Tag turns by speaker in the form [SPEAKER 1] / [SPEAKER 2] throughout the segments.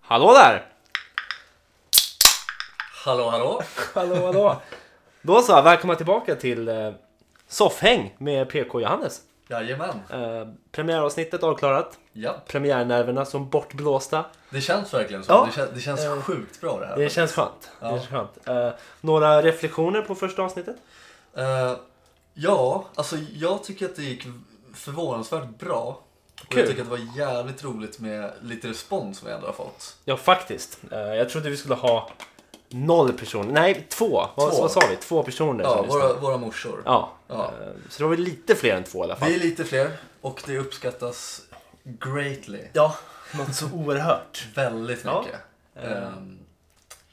[SPEAKER 1] Hallå där!
[SPEAKER 2] Hallå, hallå.
[SPEAKER 1] Hallå, hallå! Då så, välkomna tillbaka till eh, Soffhäng med PK Johannes.
[SPEAKER 2] Jajamän.
[SPEAKER 1] Eh, premiäravsnittet avklarat.
[SPEAKER 2] Ja,
[SPEAKER 1] Premiärnerverna som bortblåsta.
[SPEAKER 2] det känns verkligen så.
[SPEAKER 1] Ja. Eh,
[SPEAKER 2] Det, kän- det känns sjukt bra det här.
[SPEAKER 1] Det känns skönt.
[SPEAKER 2] Ja.
[SPEAKER 1] Det känns skönt. Eh, några reflektioner på första avsnittet?
[SPEAKER 2] Eh, ja, alltså jag tycker att det gick förvånansvärt bra. Och
[SPEAKER 1] Kul.
[SPEAKER 2] jag tycker att det var jävligt roligt med lite respons som vi ändå har fått.
[SPEAKER 1] Ja, faktiskt. Eh, jag trodde vi skulle ha noll personer. Nej, två. Vad,
[SPEAKER 2] Två.
[SPEAKER 1] vad sa vi? Två personer som
[SPEAKER 2] Ja,
[SPEAKER 1] lyssnade.
[SPEAKER 2] Alltså, våra, våra morsor.
[SPEAKER 1] Ja.
[SPEAKER 2] Ja.
[SPEAKER 1] Eh, så det var väl lite fler än två i alla fall.
[SPEAKER 2] Vi är lite fler och det uppskattas greatly.
[SPEAKER 1] Ja, något så oerhört.
[SPEAKER 2] Väldigt
[SPEAKER 1] Ja.
[SPEAKER 2] mycket.
[SPEAKER 1] Eh,
[SPEAKER 2] Ehm,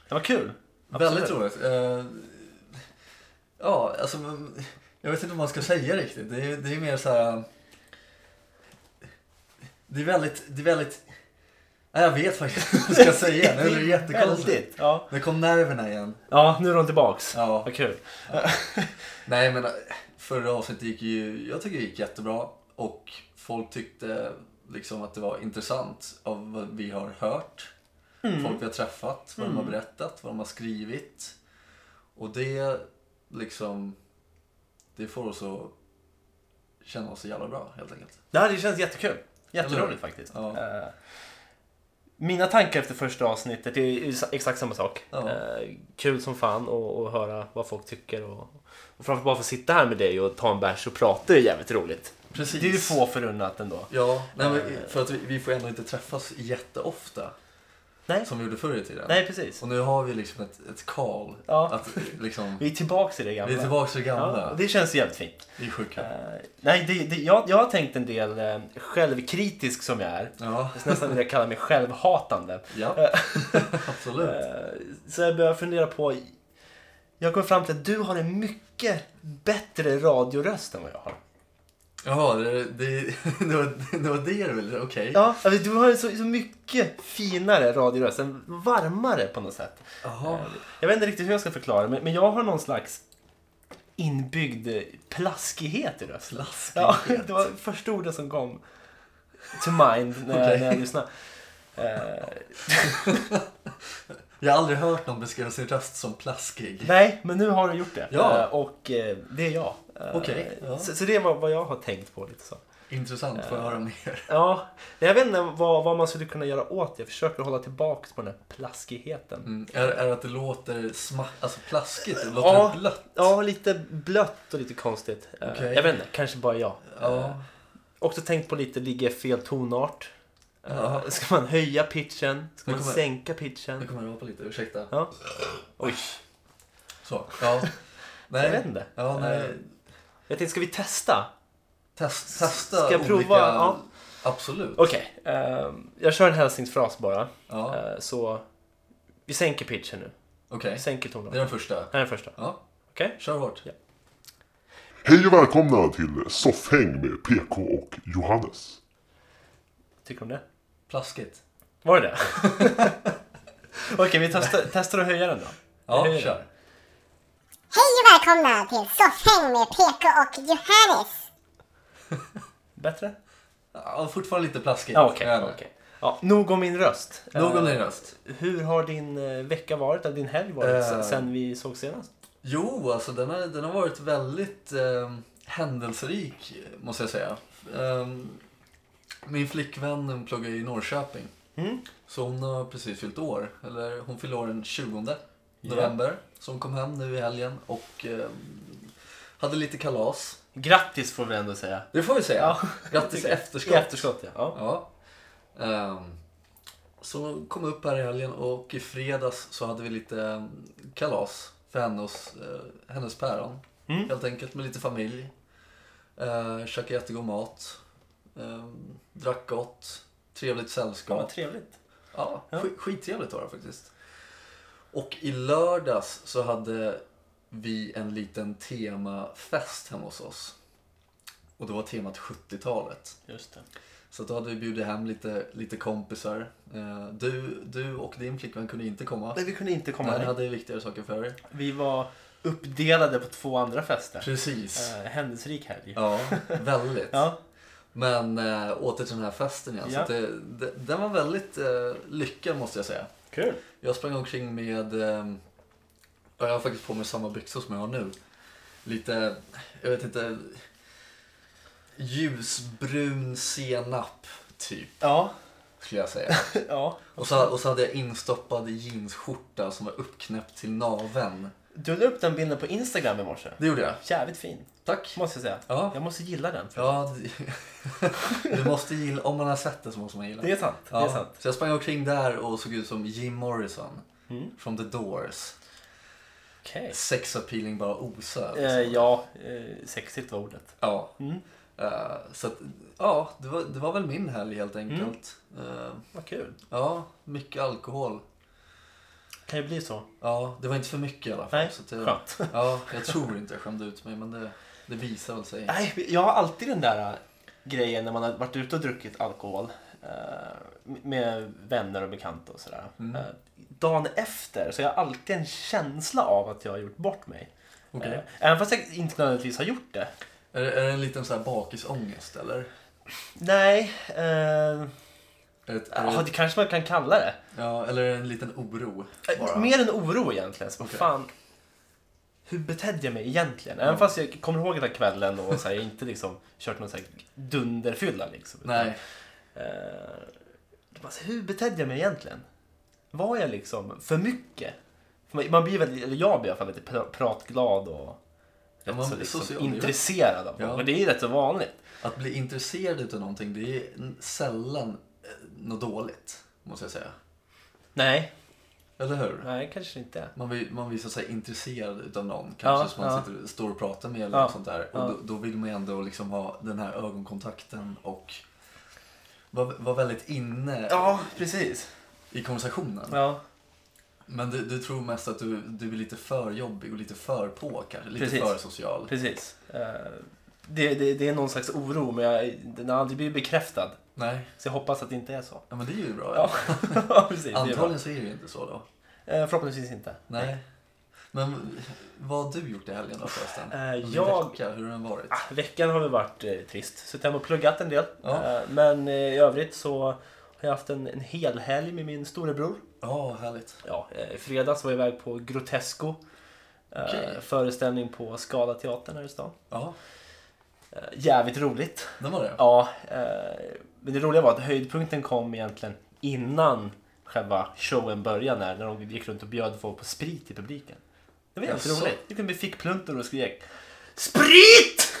[SPEAKER 1] Det var kul.
[SPEAKER 2] Väldigt roligt. Eh, ja, alltså, men- jag vet inte vad man ska säga riktigt. Det är, det är mer så här... Det är väldigt, det är väldigt... Nej, jag vet faktiskt vad jag ska säga. Nu är det jättekonstigt.
[SPEAKER 1] Väldigt, Ja.
[SPEAKER 2] Nu kom nerverna igen.
[SPEAKER 1] ja, nu är de tillbaks.
[SPEAKER 2] Ja.
[SPEAKER 1] Vad kul.
[SPEAKER 2] Nej, men eh, förra avsnittet gick ju... Jag tycker det gick jättebra. Och folk tyckte liksom att det var intressant av vad vi har hört.
[SPEAKER 1] Mm.
[SPEAKER 2] folk vi har träffat, vad de har berättat, vad de har skrivit. Och det liksom, det får oss att känna oss så jävla bra helt enkelt.
[SPEAKER 1] Det här det känns jättekul.
[SPEAKER 2] Eller hur?
[SPEAKER 1] Jätteroligt faktiskt.
[SPEAKER 2] Ja.
[SPEAKER 1] Eh, Mina tankar efter första avsnittet är ju sa- exakt samma sak.
[SPEAKER 2] Ja.
[SPEAKER 1] Eh, Kul som fan och, och höra vad folk tycker. Och, och framförallt bara få sitta här med dig och ta en bärs och prata är ju jävligt roligt.
[SPEAKER 2] Precis.
[SPEAKER 1] Det är ju få Eh. förunnat ändå.
[SPEAKER 2] Ja, nej, men för att vi, vi får ändå inte träffas jätteofta
[SPEAKER 1] Nej,
[SPEAKER 2] som vi gjorde förr i tiden.
[SPEAKER 1] Nej precis.
[SPEAKER 2] Och nu har vi liksom ett, ett call.
[SPEAKER 1] Ja.
[SPEAKER 2] Att liksom,
[SPEAKER 1] Vi är tillbaks i det
[SPEAKER 2] vi
[SPEAKER 1] gamla.
[SPEAKER 2] är tillbaka till det gamla.
[SPEAKER 1] Ja, det känns jävligt fint.
[SPEAKER 2] Vi är sjuka.
[SPEAKER 1] Eh, nej, det, det, jag, jag har tänkt en del, eh, självkritisk som jag är.
[SPEAKER 2] Ja,
[SPEAKER 1] Jag skulle nästan vilja kalla mig självhatande.
[SPEAKER 2] ja. absolut.
[SPEAKER 1] Eh, Så jag börjar fundera på... Jag kom fram till att du har en mycket bättre radioröst än vad jag har.
[SPEAKER 2] Jaha, det, det, det, var, det var det du ville? Okej.
[SPEAKER 1] Ja, alltså, du har en så, så mycket finare radioröst. En varmare på något sätt.
[SPEAKER 2] Jaha.
[SPEAKER 1] Jag vet inte riktigt hur jag ska förklara men, men jag har någon slags inbyggd eh, plaskighet i rösten. Ja,
[SPEAKER 2] Plaskighet.
[SPEAKER 1] det var första ordet som kom to mind när, jag- när jag lyssnade. Eh,
[SPEAKER 2] Jag har aldrig hört någon beskriva sin röst som plaskig.
[SPEAKER 1] Nej, men nu har du gjort det.
[SPEAKER 2] Ja.
[SPEAKER 1] Eh, Och eh, det är jag. Eh,
[SPEAKER 2] Okej, ja.
[SPEAKER 1] Så, så det var vad jag har tänkt på lite så.
[SPEAKER 2] Intressant, får jag
[SPEAKER 1] Eh.
[SPEAKER 2] höra mer?
[SPEAKER 1] Ja, men jag vet inte vad, vad man skulle kunna göra åt det. Jag försöker hålla tillbaks på den här plaskigheten.
[SPEAKER 2] Mm. Är, är det att det låter sma- alltså plaskigt? Det låter
[SPEAKER 1] Ja.
[SPEAKER 2] blött?
[SPEAKER 1] Ja, lite blött och lite konstigt. Eh,
[SPEAKER 2] Okej.
[SPEAKER 1] Jag vet inte, kanske bara jag. Eh,
[SPEAKER 2] Ja.
[SPEAKER 1] Också tänkt på lite, ligger fel tonart? Eh,
[SPEAKER 2] Ja.
[SPEAKER 1] Ska man höja pitchen? Ska
[SPEAKER 2] Nu
[SPEAKER 1] man
[SPEAKER 2] kommer-
[SPEAKER 1] sänka
[SPEAKER 2] Nu
[SPEAKER 1] pitchen?
[SPEAKER 2] kommer jag på lite, ursäkta.
[SPEAKER 1] Ja. Oj,
[SPEAKER 2] Så, ja.
[SPEAKER 1] jag vet
[SPEAKER 2] Nej.
[SPEAKER 1] inte.
[SPEAKER 2] Ja, nej.
[SPEAKER 1] Eh, Jag tänkte, ska vi testa?
[SPEAKER 2] Test, testa
[SPEAKER 1] Ska jag prova?
[SPEAKER 2] olika...
[SPEAKER 1] Ja.
[SPEAKER 2] Absolut.
[SPEAKER 1] Okej, eh, jag kör en hälsningsfras bara.
[SPEAKER 2] Ja.
[SPEAKER 1] Eh, Så vi sänker pitchen nu.
[SPEAKER 2] Okej,
[SPEAKER 1] Vi sänker
[SPEAKER 2] det är
[SPEAKER 1] tonarten.
[SPEAKER 2] den första.
[SPEAKER 1] Här är den första.
[SPEAKER 2] Ja,
[SPEAKER 1] Okej?
[SPEAKER 2] kör hårt.
[SPEAKER 3] Hej och välkomna till Soffhäng med PK och Johannes.
[SPEAKER 1] Tycker du om det?
[SPEAKER 2] Plaskigt.
[SPEAKER 1] Var det det? Okej, vi testar, testar att höja den då.
[SPEAKER 2] Ja,
[SPEAKER 1] Vi höjer
[SPEAKER 2] kör.
[SPEAKER 1] den.
[SPEAKER 4] Hej och välkomna till Soffhäng med PK och Johannes.
[SPEAKER 1] Bättre?
[SPEAKER 2] Ja, fortfarande lite plaskigt.
[SPEAKER 1] Ja, okej.
[SPEAKER 2] Jag vet inte.
[SPEAKER 1] okej. ja, nog om min röst.
[SPEAKER 2] Nog om
[SPEAKER 1] Eh,
[SPEAKER 2] din röst.
[SPEAKER 1] Hur har din eh, vecka varit, eller din helg varit,
[SPEAKER 2] Eh.
[SPEAKER 1] sen, sen vi såg senast?
[SPEAKER 2] Jo, alltså den har, den har varit väldigt eh, händelserik, måste jag säga. Ehm, min flickvän pluggar i Norrköping.
[SPEAKER 1] Mm.
[SPEAKER 2] Så hon har precis fyllt år. Eller hon fyller år den 20 november. Så hon kom hem nu i helgen och ehm, hade lite kalas.
[SPEAKER 1] Grattis får vi ändå säga.
[SPEAKER 2] Det får vi säga.
[SPEAKER 1] Ja.
[SPEAKER 2] Grattis i
[SPEAKER 1] I
[SPEAKER 2] efterskott.
[SPEAKER 1] efterskott, ja. ja.
[SPEAKER 2] Ja. Ehm, så hon kom upp här i helgen och i fredags så hade vi lite ehm, kalas för hennes, eh, hennes päron.
[SPEAKER 1] Mm.
[SPEAKER 2] Helt enkelt med lite familj. Uh, käkade jättegod mat. Ehm, drack gott. Trevligt
[SPEAKER 1] Ja, Vad
[SPEAKER 2] sällskap.
[SPEAKER 1] trevligt.
[SPEAKER 2] Ja,
[SPEAKER 1] Ja.
[SPEAKER 2] sk- skittrevligt var det faktiskt. Och i lördags så hade vi en liten temafest hemma hos oss. Och det var temat 70-talet.
[SPEAKER 1] Just det.
[SPEAKER 2] Så att då hade vi bjudit hem lite, lite kompisar. Eh, Du, du och din flickvän kunde inte komma.
[SPEAKER 1] Nej, vi kunde inte komma
[SPEAKER 2] Nej, ni
[SPEAKER 1] hit.
[SPEAKER 2] hade viktigare saker för er.
[SPEAKER 1] Vi var uppdelade på två andra fester.
[SPEAKER 2] Precis.
[SPEAKER 1] Eh, händelserik helg.
[SPEAKER 2] Ja, väldigt.
[SPEAKER 1] Eh. Ja.
[SPEAKER 2] Men äh, åter till den här festen igen.
[SPEAKER 1] Ja.
[SPEAKER 2] Så att det, det, den var väldigt eh, lyckad måste jag säga.
[SPEAKER 1] Kul.
[SPEAKER 2] Jag sprang omkring med, eh, jag har faktiskt på mig samma byxor som jag har nu. Lite, jag vet inte, ljusbrun senap typ
[SPEAKER 1] Ja,
[SPEAKER 2] skulle jag säga.
[SPEAKER 1] ja.
[SPEAKER 2] Och så, och så hade jag instoppad jeansskjorta som var uppknäppt till naveln.
[SPEAKER 1] Du la upp den bilden på Instagram i morse.
[SPEAKER 2] Det gjorde jag.
[SPEAKER 1] Jävligt fin,
[SPEAKER 2] Tack.
[SPEAKER 1] måste jag säga.
[SPEAKER 2] Ja.
[SPEAKER 1] Jag måste gilla den. För
[SPEAKER 2] Ja, det- du måste gilla, om man har sett det så måste man gilla
[SPEAKER 1] Det är sant.
[SPEAKER 2] Ja,
[SPEAKER 1] Det är sant.
[SPEAKER 2] Så jag sprang omkring där och såg ut som Jim Morrison
[SPEAKER 1] Mm.
[SPEAKER 2] från The Doors.
[SPEAKER 1] Okej.
[SPEAKER 2] Sex appealing bara osar.
[SPEAKER 1] Eh, ja, Mm. eh, sexigt var ordet.
[SPEAKER 2] Ja. Eh, så att, ja, det var, det var väl min helg helt
[SPEAKER 1] Mm.
[SPEAKER 2] enkelt. Eh,
[SPEAKER 1] Vad kul.
[SPEAKER 2] ja, mycket alkohol.
[SPEAKER 1] Kan ju bli så.
[SPEAKER 2] Ja, det var inte för mycket i alla fall.
[SPEAKER 1] Nej,
[SPEAKER 2] så att det,
[SPEAKER 1] skönt.
[SPEAKER 2] Ja, jag tror inte jag skämde ut mig men det, det visar väl sig.
[SPEAKER 1] Nej, jag har alltid den där äh, grejen när man har varit ute och druckit alkohol eh, med vänner och bekanta och sådär.
[SPEAKER 2] Mm.
[SPEAKER 1] Eh, dagen efter så har jag alltid en känsla av att jag har gjort bort mig.
[SPEAKER 2] Okej.
[SPEAKER 1] Eh, även fast jag inte nödvändigtvis har gjort det.
[SPEAKER 2] Är, det- är det en liten så här bakisångest eller?
[SPEAKER 1] Nej, eh,
[SPEAKER 2] Är det, är
[SPEAKER 1] ja,
[SPEAKER 2] det,
[SPEAKER 1] det kanske man kan kalla det.
[SPEAKER 2] ja, eller är det en liten oro?
[SPEAKER 1] Eh,
[SPEAKER 2] Bara?
[SPEAKER 1] Mer en oro egentligen. Så,
[SPEAKER 2] Okej. Mm.
[SPEAKER 1] fan, hur betedde jag mig egentligen? Även fast jag kommer ihåg den här kvällen och så här, jag inte liksom kört någon så här dunderfylla. Liksom, utan-
[SPEAKER 2] Nej.
[SPEAKER 1] Eh, alltså, hur betedde jag mig egentligen? Var jag liksom för mycket? För man, man blir väldigt, eller jag blir i alla fall lite pra- pratglad och
[SPEAKER 2] Ja,
[SPEAKER 1] rätt
[SPEAKER 2] man
[SPEAKER 1] så
[SPEAKER 2] blir
[SPEAKER 1] liksom,
[SPEAKER 2] social,
[SPEAKER 1] intresserad av
[SPEAKER 2] ja.
[SPEAKER 1] folk. Men det är ju rätt så vanligt.
[SPEAKER 2] Att bli intresserad utav någonting det är n- sällan eh, något dåligt. Måste jag säga.
[SPEAKER 1] Nej,
[SPEAKER 2] Eller hur?
[SPEAKER 1] nej kanske inte.
[SPEAKER 2] Man, vill, man visar sig intresserad utav någon. Kanske
[SPEAKER 1] Ja,
[SPEAKER 2] som man
[SPEAKER 1] ja.
[SPEAKER 2] sitter, står och pratar med eller
[SPEAKER 1] Ja,
[SPEAKER 2] något sånt där. Och
[SPEAKER 1] ja.
[SPEAKER 2] då, då vill man ju ändå liksom ha den här ögonkontakten och vara vara väldigt inne
[SPEAKER 1] Ja, precis.
[SPEAKER 2] i konversationen.
[SPEAKER 1] Ja,
[SPEAKER 2] Men du, du tror mest att du, du är lite för jobbig och lite för på kanske. Lite
[SPEAKER 1] Precis.
[SPEAKER 2] för social.
[SPEAKER 1] precis. Eh, det, det, det är någon slags oro, men jag, den har aldrig blivit bekräftad.
[SPEAKER 2] Nej,
[SPEAKER 1] Så jag hoppas att det inte är så.
[SPEAKER 2] ja, men det är ju bra.
[SPEAKER 1] Ja, ja, precis. det är bra.
[SPEAKER 2] Antagligen så är det ju inte så då.
[SPEAKER 1] Eh, förhoppningsvis inte.
[SPEAKER 2] Nej. Men vad har du gjort i helgen då förresten?
[SPEAKER 1] Eh,
[SPEAKER 2] Din
[SPEAKER 1] jag-
[SPEAKER 2] Vecka, hur har den varit?
[SPEAKER 1] Ah, veckan har väl varit eh, trist. Suttit hemma och pluggat en del.
[SPEAKER 2] Ja.
[SPEAKER 1] Eh, men eh, i övrigt så har jag haft en, en hel helg med min storebror.
[SPEAKER 2] Ja, härligt.
[SPEAKER 1] Ja, eh, i fredags var jag iväg på Grotesco. eh,
[SPEAKER 2] Okej.
[SPEAKER 1] Föreställning på Skala teatern här i stan.
[SPEAKER 2] Ja,
[SPEAKER 1] Eh, jävligt roligt.
[SPEAKER 2] den var det.
[SPEAKER 1] Ja, eh, men det roliga var att höjdpunkten kom egentligen innan själva showen började. När, när de gick runt och bjöd folk på sprit i publiken. Det var jävligt
[SPEAKER 2] Jaså?
[SPEAKER 1] roligt. Det kunde bli fickpluntor och skrek SPRIT!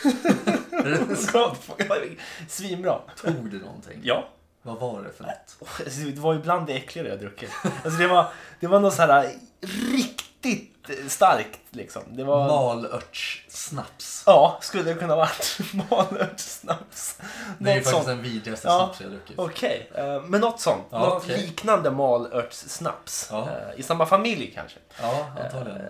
[SPEAKER 1] Svinbra.
[SPEAKER 2] Tog du någonting?
[SPEAKER 1] Ja.
[SPEAKER 2] Vad var det för något?
[SPEAKER 1] Alltså, det var ju bland det äckligare jag druckit. Alltså, det, var, det var något så här riktigt starkt liksom. Det var...
[SPEAKER 2] Malörtssnaps.
[SPEAKER 1] ja, skulle det kunna varit. Malörtssnaps.
[SPEAKER 2] Det är ju
[SPEAKER 1] Något
[SPEAKER 2] faktiskt
[SPEAKER 1] sånt.
[SPEAKER 2] den vidrigaste
[SPEAKER 1] Ja.
[SPEAKER 2] snaps jag har druckit.
[SPEAKER 1] Okej, eh, men något sånt.
[SPEAKER 2] Ja,
[SPEAKER 1] något
[SPEAKER 2] okej.
[SPEAKER 1] liknande malörtssnaps.
[SPEAKER 2] Ja.
[SPEAKER 1] Eh, I samma familj kanske.
[SPEAKER 2] Ja, antagligen.
[SPEAKER 1] Eh.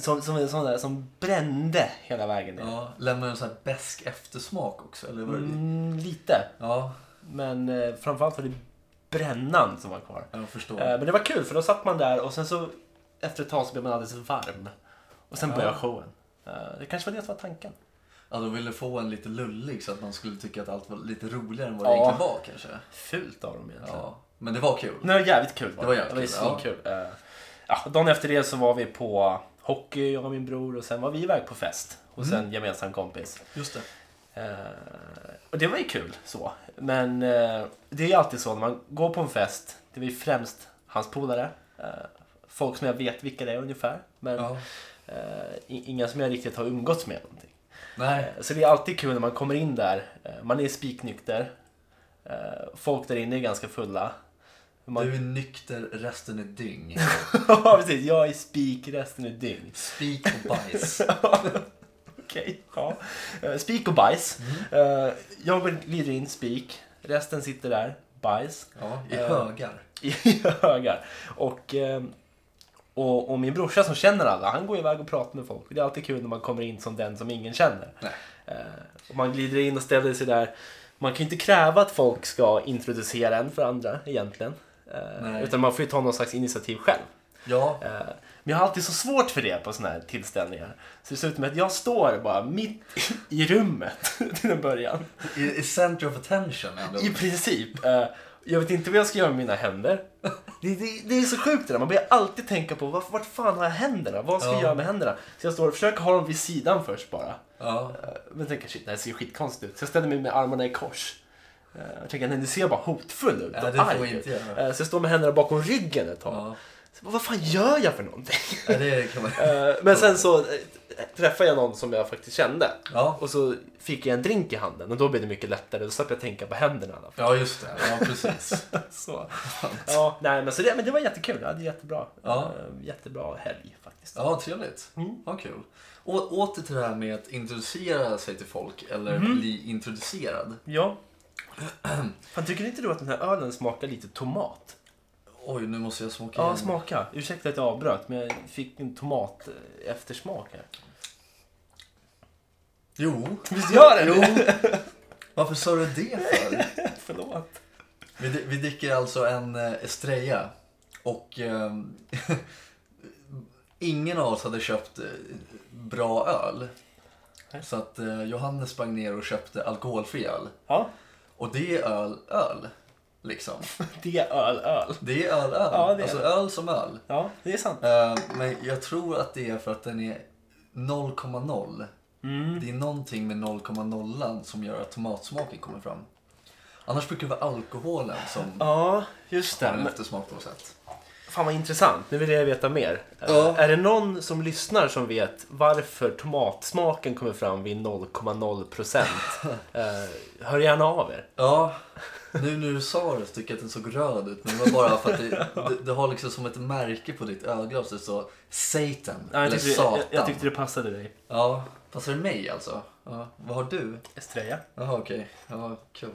[SPEAKER 1] Som, som, en sån där, som brände hela vägen ner.
[SPEAKER 2] Ja, lämnar en sån här besk eftersmak också, eller vad det?
[SPEAKER 1] Mm, lite,
[SPEAKER 2] Ja,
[SPEAKER 1] men eh, framförallt var det brännan som var kvar.
[SPEAKER 2] jag förstår.
[SPEAKER 1] Eh, Men det var kul för då satt man där och sen så efter ett tag så blev man alldeles varm. Och sen började showen. Eh, Det kanske var det som var tanken.
[SPEAKER 2] Ja, de ville få en lite lullig så att man skulle tycka att allt var lite roligare än vad
[SPEAKER 1] Ja.
[SPEAKER 2] det egentligen var kanske.
[SPEAKER 1] Fult av dem egentligen.
[SPEAKER 2] Ja, men det var kul.
[SPEAKER 1] Men det var jävligt kul.
[SPEAKER 2] Det var jävligt
[SPEAKER 1] det
[SPEAKER 2] kul,
[SPEAKER 1] var kul. Ja. ja, dagen efter det så var vi på hockey, jag och min bror och sen var vi iväg på fest hos
[SPEAKER 2] Mm.
[SPEAKER 1] en gemensam kompis.
[SPEAKER 2] Just det.
[SPEAKER 1] Eh, och det var ju kul så. Men eh, det är ju alltid så när man går på en fest, det är ju främst hans polare. eh, folk som jag vet vilka det är ungefär. Men
[SPEAKER 2] Ja.
[SPEAKER 1] Eh, i- inga som jag riktigt har umgåtts med. Någonting.
[SPEAKER 2] Nej,
[SPEAKER 1] Så det är alltid kul när man kommer in där. Eh, man är spiknykter. Eh, folk där inne är ganska fulla. Man...
[SPEAKER 2] du är nykter, resten är dyng.
[SPEAKER 1] ja, precis. Jag är spik, resten är dygn.
[SPEAKER 2] Spik och bajs.
[SPEAKER 1] Okej. Ja. Eh, spik och bajs.
[SPEAKER 2] Mm.
[SPEAKER 1] Eh, jag glider in spik. Resten sitter där, bajs,
[SPEAKER 2] Ja, i
[SPEAKER 1] eh,
[SPEAKER 2] högar.
[SPEAKER 1] i högar. Och, eh, och, och min brorsa som känner alla, han går iväg och pratar med folk. Det är alltid kul när man kommer in som den som ingen känner.
[SPEAKER 2] Nej.
[SPEAKER 1] Eh, och man glider in och ställer sig där. Man kan ju inte kräva att folk ska introducera en för andra egentligen. Eh,
[SPEAKER 2] Nej.
[SPEAKER 1] utan man får ju ta någon slags initiativ själv.
[SPEAKER 2] Ja,
[SPEAKER 1] Eh, Men jag har alltid så svårt för det på såna här tillställningar. Så det ser ut med att jag står bara mitt i rummet till en början.
[SPEAKER 2] i, i center of attention ändå.
[SPEAKER 1] I princip. eh, Jag vet inte vad jag ska göra med mina händer. Det, det, det är så sjukt det där. Man börjar alltid tänka på vart, vart fan har jag händerna? Vad ska
[SPEAKER 2] Ja.
[SPEAKER 1] jag göra med händerna? Så jag står och försöker ha dem vid sidan först bara.
[SPEAKER 2] Ja.
[SPEAKER 1] Eh, Men tänker shit, det här ser ju skitkonstigt ut. Så jag ställer mig med armarna i kors. Eh, Jag tänker, nej, du ser bara hotfull ut
[SPEAKER 2] Ja,
[SPEAKER 1] och
[SPEAKER 2] det får
[SPEAKER 1] arg
[SPEAKER 2] jag
[SPEAKER 1] ut.
[SPEAKER 2] inte göra.
[SPEAKER 1] Eh, Så jag står med händerna bakom ryggen ett tag.
[SPEAKER 2] Ja.
[SPEAKER 1] Så, bara, vad fan gör jag för någonting?
[SPEAKER 2] ja, det kan man...
[SPEAKER 1] Eh, Men sen så eh, träffade jag någon som jag faktiskt kände.
[SPEAKER 2] Ja,
[SPEAKER 1] Och så fick jag en drink i handen och då blev det mycket lättare. Då slapp jag tänka på händerna i alla fall.
[SPEAKER 2] ja just det. Ja, precis.
[SPEAKER 1] Så. Ja, nej, men, så det, men det var jättekul. Jag hade jättebra,
[SPEAKER 2] Ja.
[SPEAKER 1] eh, jättebra helg faktiskt.
[SPEAKER 2] Ja, trevligt.
[SPEAKER 1] Mm.
[SPEAKER 2] Vad kul. Och åter till det här med att introducera sig till folk eller
[SPEAKER 1] Mhm.
[SPEAKER 2] bli introducerad.
[SPEAKER 1] Ja. Fan, tycker inte du att den här ölen smakar lite tomat?
[SPEAKER 2] Oj, nu måste jag smaka
[SPEAKER 1] Ja,
[SPEAKER 2] igen.
[SPEAKER 1] smaka. Ursäkta att jag avbröt, men jag fick en tomat eh, eftersmak här.
[SPEAKER 2] Jo.
[SPEAKER 1] Visst gör det?
[SPEAKER 2] Jo. Varför sa du det för?
[SPEAKER 1] Förlåt.
[SPEAKER 2] Vi, vi dricker alltså en eh, Estrella och ehm, ingen av oss hade köpt eh, bra öl. Så att eh, Johannes sprang ner och köpte alkoholfri öl.
[SPEAKER 1] Ja,
[SPEAKER 2] Och det är öl, öl. Liksom.
[SPEAKER 1] det är öl, öl.
[SPEAKER 2] Det är öl, öl.
[SPEAKER 1] Ja, det är
[SPEAKER 2] alltså
[SPEAKER 1] det.
[SPEAKER 2] öl som öl.
[SPEAKER 1] Ja, det är sant.
[SPEAKER 2] Eh, men jag tror att det är för att den är 0,0.
[SPEAKER 1] Mm.
[SPEAKER 2] Det är någonting med 0,0 som gör att tomatsmaken kommer fram. Annars brukar det vara alkoholen som
[SPEAKER 1] Ja, just det.
[SPEAKER 2] har en
[SPEAKER 1] Men-
[SPEAKER 2] eftersmak på något sätt.
[SPEAKER 1] Fan vad intressant, nu vill jag veta mer.
[SPEAKER 2] Ja.
[SPEAKER 1] Eh, Är det någon som lyssnar som vet varför tomatsmaken kommer fram vid 0,0%? eh, hör gärna av er.
[SPEAKER 2] Ja, nu när du sa det så tycker jag att den såg röd ut. Men det var bara för att det, det, det har liksom som ett märke på ditt öglas. Det står Satan.
[SPEAKER 1] Nej, jag,
[SPEAKER 2] eller
[SPEAKER 1] tyckte,
[SPEAKER 2] Satan.
[SPEAKER 1] jag, jag tyckte det passade dig.
[SPEAKER 2] Ja, passar det mig alltså? Ja, vad har du?
[SPEAKER 1] Estrella.
[SPEAKER 2] Jaha, okej. Ja, kul.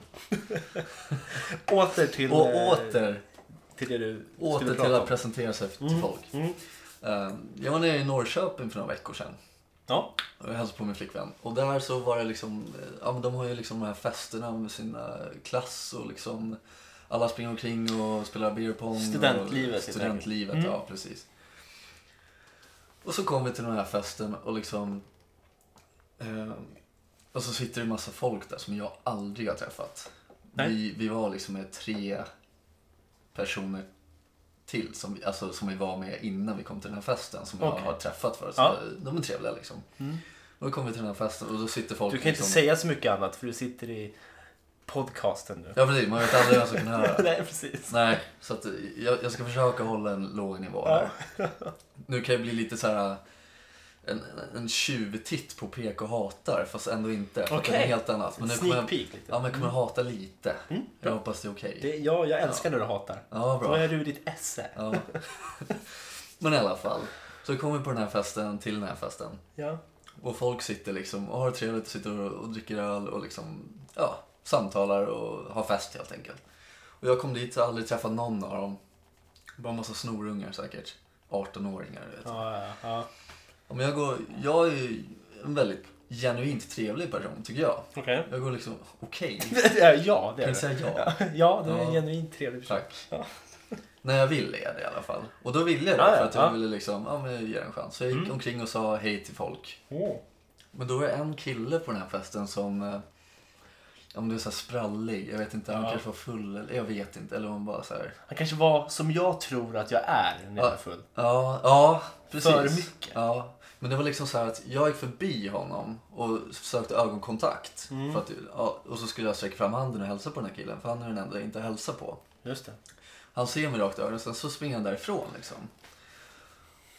[SPEAKER 1] Åter till,
[SPEAKER 2] Och
[SPEAKER 1] eh,
[SPEAKER 2] åter.
[SPEAKER 1] till det du
[SPEAKER 2] Åter
[SPEAKER 1] skulle
[SPEAKER 2] till
[SPEAKER 1] prata om.
[SPEAKER 2] att
[SPEAKER 1] Mm,
[SPEAKER 2] presentera sig till folk. Eh, Jag var nere i Norrköping för några veckor sedan
[SPEAKER 1] Ja.
[SPEAKER 2] och jag hälsade på min flickvän. Och där så var det liksom, eh, ja men de har ju liksom de här festerna med sina klass och liksom alla springer omkring och spelar beer pong. och-
[SPEAKER 1] Studentlivet, helt
[SPEAKER 2] Studentlivet, ja precis. Och så kom vi till den här festen och liksom eh, och så sitter det en massa folk där som jag aldrig har träffat.
[SPEAKER 1] Nej.
[SPEAKER 2] Vi, vi var liksom med tre personer till som, vi- alltså, som vi var med innan vi kom till den här festen som
[SPEAKER 1] Okej.
[SPEAKER 2] jag har träffat förut.
[SPEAKER 1] Ja. Mm.
[SPEAKER 2] Så De är trevliga liksom. Och då kom vi till den här festen och då sitter folk
[SPEAKER 1] Du kan inte
[SPEAKER 2] liksom...
[SPEAKER 1] säga så mycket annat för du sitter i podcasten nu.
[SPEAKER 2] Ja precis, man vet aldrig vem som kan höra.
[SPEAKER 1] Nej, precis.
[SPEAKER 2] Nej, så att jag, jag ska försöka hålla en låg nivå här. Nu kan jag bli lite så här en, en tjuvtitt på PK hatar fast ändå inte. För att Det är
[SPEAKER 1] Okej.
[SPEAKER 2] helt annat. Men nu kommer
[SPEAKER 1] Sneak
[SPEAKER 2] jag,
[SPEAKER 1] peek lite. Mm.
[SPEAKER 2] ja, men jag kommer hata lite. jag hoppas det är okej.
[SPEAKER 1] Det, ja, jag älskar när du hatar.
[SPEAKER 2] Ja, bra.
[SPEAKER 1] Då är du i ditt esse.
[SPEAKER 2] Ja. Men i alla fall. Så kommer vi på den här festen till den här festen.
[SPEAKER 1] Ja.
[SPEAKER 2] Och folk sitter liksom och har det trevligt och sitter och, och dricker öl och liksom, ja, samtalar och har fest helt enkelt. Och jag kom dit och aldrig träffat någon av dem. Bara massa snorungar säkert. 18-åringar, du vet.
[SPEAKER 1] Ja, ja, ja.
[SPEAKER 2] Ja, Men jag, går, jag är ju en väldigt genuint trevlig person, tycker jag.
[SPEAKER 1] Okej.
[SPEAKER 2] Jag går liksom, okej,
[SPEAKER 1] ja, det är
[SPEAKER 2] kan
[SPEAKER 1] det.
[SPEAKER 2] jag säga ja?
[SPEAKER 1] Ja, du är en
[SPEAKER 2] Ja.
[SPEAKER 1] genuint trevlig person.
[SPEAKER 2] Tack. När jag vill är det i alla fall. Och då ville jag det,
[SPEAKER 1] Ja, ja,
[SPEAKER 2] för att jag
[SPEAKER 1] ja. Mm.
[SPEAKER 2] ville liksom, ja men jag ger en chans. Så jag gick omkring och sa hej till folk.
[SPEAKER 1] Åh.
[SPEAKER 2] Men då var det en kille på den här festen som, eh, om det är så här sprallig, jag vet inte, han
[SPEAKER 1] Ja.
[SPEAKER 2] kanske var full eller jag vet inte, eller om bara så här.
[SPEAKER 1] Han kanske var som jag tror att jag är när jag är full.
[SPEAKER 2] Ja, ja precis.
[SPEAKER 1] För mycket.
[SPEAKER 2] Ja. Men det var liksom så här att jag gick förbi honom och sökte ögonkontakt.
[SPEAKER 1] Mm.
[SPEAKER 2] För att, ja, och så skulle jag sträcka fram handen och hälsa på den här killen, för han är den enda jag inte hälsar på.
[SPEAKER 1] Just det.
[SPEAKER 2] Han ser mig rakt i ögonen, sen så springer han därifrån liksom.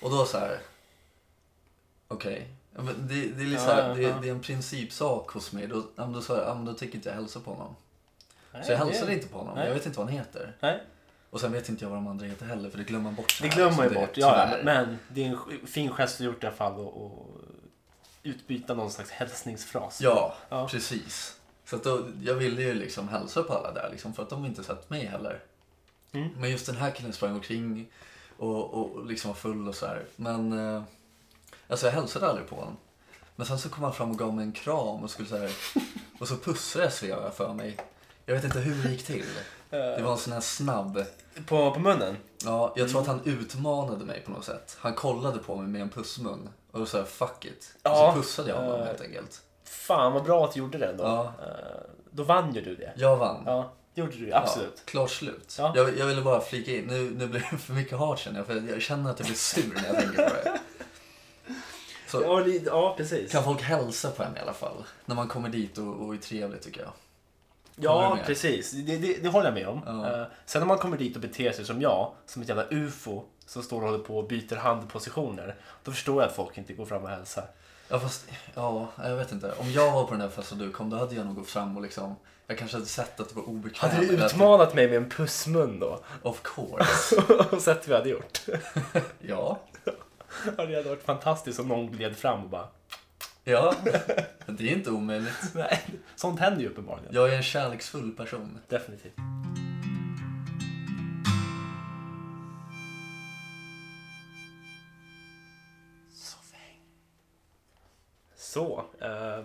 [SPEAKER 2] Och då så här. Okej. Ja, men Det, det, är lite så
[SPEAKER 1] Ja, ja,
[SPEAKER 2] här,
[SPEAKER 1] ja.
[SPEAKER 2] det, det är en principsak hos mig. Då, ja, men då sa jag, ja, men då tänker inte jag hälsa på honom.
[SPEAKER 1] Nej,
[SPEAKER 2] Så jag
[SPEAKER 1] det-
[SPEAKER 2] hälsade inte på honom.
[SPEAKER 1] Nej.
[SPEAKER 2] Jag vet inte vad han heter.
[SPEAKER 1] Nej,
[SPEAKER 2] Och sen vet inte jag vad de andra heter heller, för det glömmer man bort. så
[SPEAKER 1] det
[SPEAKER 2] här,
[SPEAKER 1] glömmer man ju
[SPEAKER 2] som det är,
[SPEAKER 1] bort. Ja,
[SPEAKER 2] tyvärr.
[SPEAKER 1] men det är en sk- fin gest du gjort i alla fall och, och utbyta någon slags hälsningsfras.
[SPEAKER 2] Ja,
[SPEAKER 1] Ja.
[SPEAKER 2] precis. Så att då, jag ville ju liksom hälsa på alla där liksom, för att de inte sett mig heller.
[SPEAKER 1] Mm.
[SPEAKER 2] Men just den här killen sprang omkring och, och, och liksom var full och så här. Men eh, alltså jag hälsade aldrig på honom. Men sen så kom han fram och gav mig en kram och skulle så här, och så pussades vi har jag för mig. Jag vet inte hur det gick till. Det var en sån här snabb,
[SPEAKER 1] På, på munnen?
[SPEAKER 2] Ja, jag tror att han
[SPEAKER 1] Mm.
[SPEAKER 2] utmanade mig på något sätt. Han kollade på mig med en pussmun och då sa jag fuck it.
[SPEAKER 1] Ja,
[SPEAKER 2] och så pussade jag honom
[SPEAKER 1] eh.
[SPEAKER 2] helt enkelt.
[SPEAKER 1] Fan vad bra att du gjorde det ändå.
[SPEAKER 2] Ja.
[SPEAKER 1] Eh, Då vann ju du det.
[SPEAKER 2] Jag vann.
[SPEAKER 1] Ja, det gjorde du ju, absolut.
[SPEAKER 2] Ja, klart slut.
[SPEAKER 1] Ja.
[SPEAKER 2] Jag, jag ville bara flika in, nu, nu blir det för mycket hat känner jag, för jag känner att jag blir sur när jag tänker på det. Så
[SPEAKER 1] Ja, det- ja precis.
[SPEAKER 2] kan folk hälsa på en i alla fall, när man kommer dit och, och är trevlig tycker jag. Håller du
[SPEAKER 1] Ja,
[SPEAKER 2] med?
[SPEAKER 1] precis. Det, det, det håller jag med om.
[SPEAKER 2] Ja.
[SPEAKER 1] Eh, sen när man kommer dit och beter sig som jag, som ett jävla ufo som står och håller på och byter handpositioner, då förstår jag att folk inte går fram och hälsar.
[SPEAKER 2] Ja, fast, ja, jag vet inte. Om jag var på den här festen och du kom, då hade jag nog gått fram och liksom, jag kanske hade sett att det var obekvämt.
[SPEAKER 1] Hade
[SPEAKER 2] eller
[SPEAKER 1] du
[SPEAKER 2] att-
[SPEAKER 1] utmanat mig med en pussmun då?
[SPEAKER 2] Of course.
[SPEAKER 1] och sett vad jag hade gjort.
[SPEAKER 2] Ja.
[SPEAKER 1] Ja, det hade varit fantastiskt om någon gled fram och bara
[SPEAKER 2] Ja. Det är inte omöjligt.
[SPEAKER 1] Nej, sånt händer ju uppenbarligen.
[SPEAKER 2] Jag är en kärleksfull person.
[SPEAKER 1] Definitivt. Så, eh,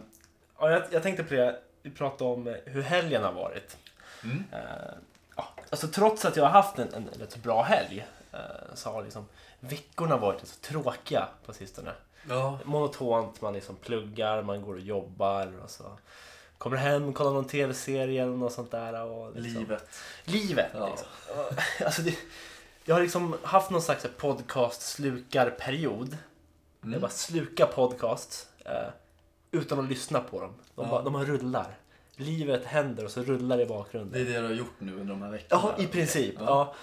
[SPEAKER 1] ja, jag, jag tänkte på det, vi pratade om eh, hur helgen har varit.
[SPEAKER 2] Mm.
[SPEAKER 1] Eh, ja, alltså trots att jag har haft en, en rätt så bra helg eh, så har liksom veckorna varit så tråkiga på sistone
[SPEAKER 2] Ja.
[SPEAKER 1] monotont, man liksom pluggar, man går och jobbar och så kommer hem, kollar någon tv-serie eller något sånt där. Och liksom.
[SPEAKER 2] Livet.
[SPEAKER 1] Livet!
[SPEAKER 2] Ja.
[SPEAKER 1] Liksom. Och, Alltså det, jag har liksom haft någon slags podcast-slukarperiod.
[SPEAKER 2] Mm.
[SPEAKER 1] Jag bara slukar podcasts eh, utan att lyssna på dem. De,
[SPEAKER 2] Ja.
[SPEAKER 1] bara, de bara rullar. Livet händer och så rullar det i bakgrunden.
[SPEAKER 2] Det är det du har gjort nu under de här veckorna.
[SPEAKER 1] Ja, i princip.
[SPEAKER 2] Ja.
[SPEAKER 1] Ja.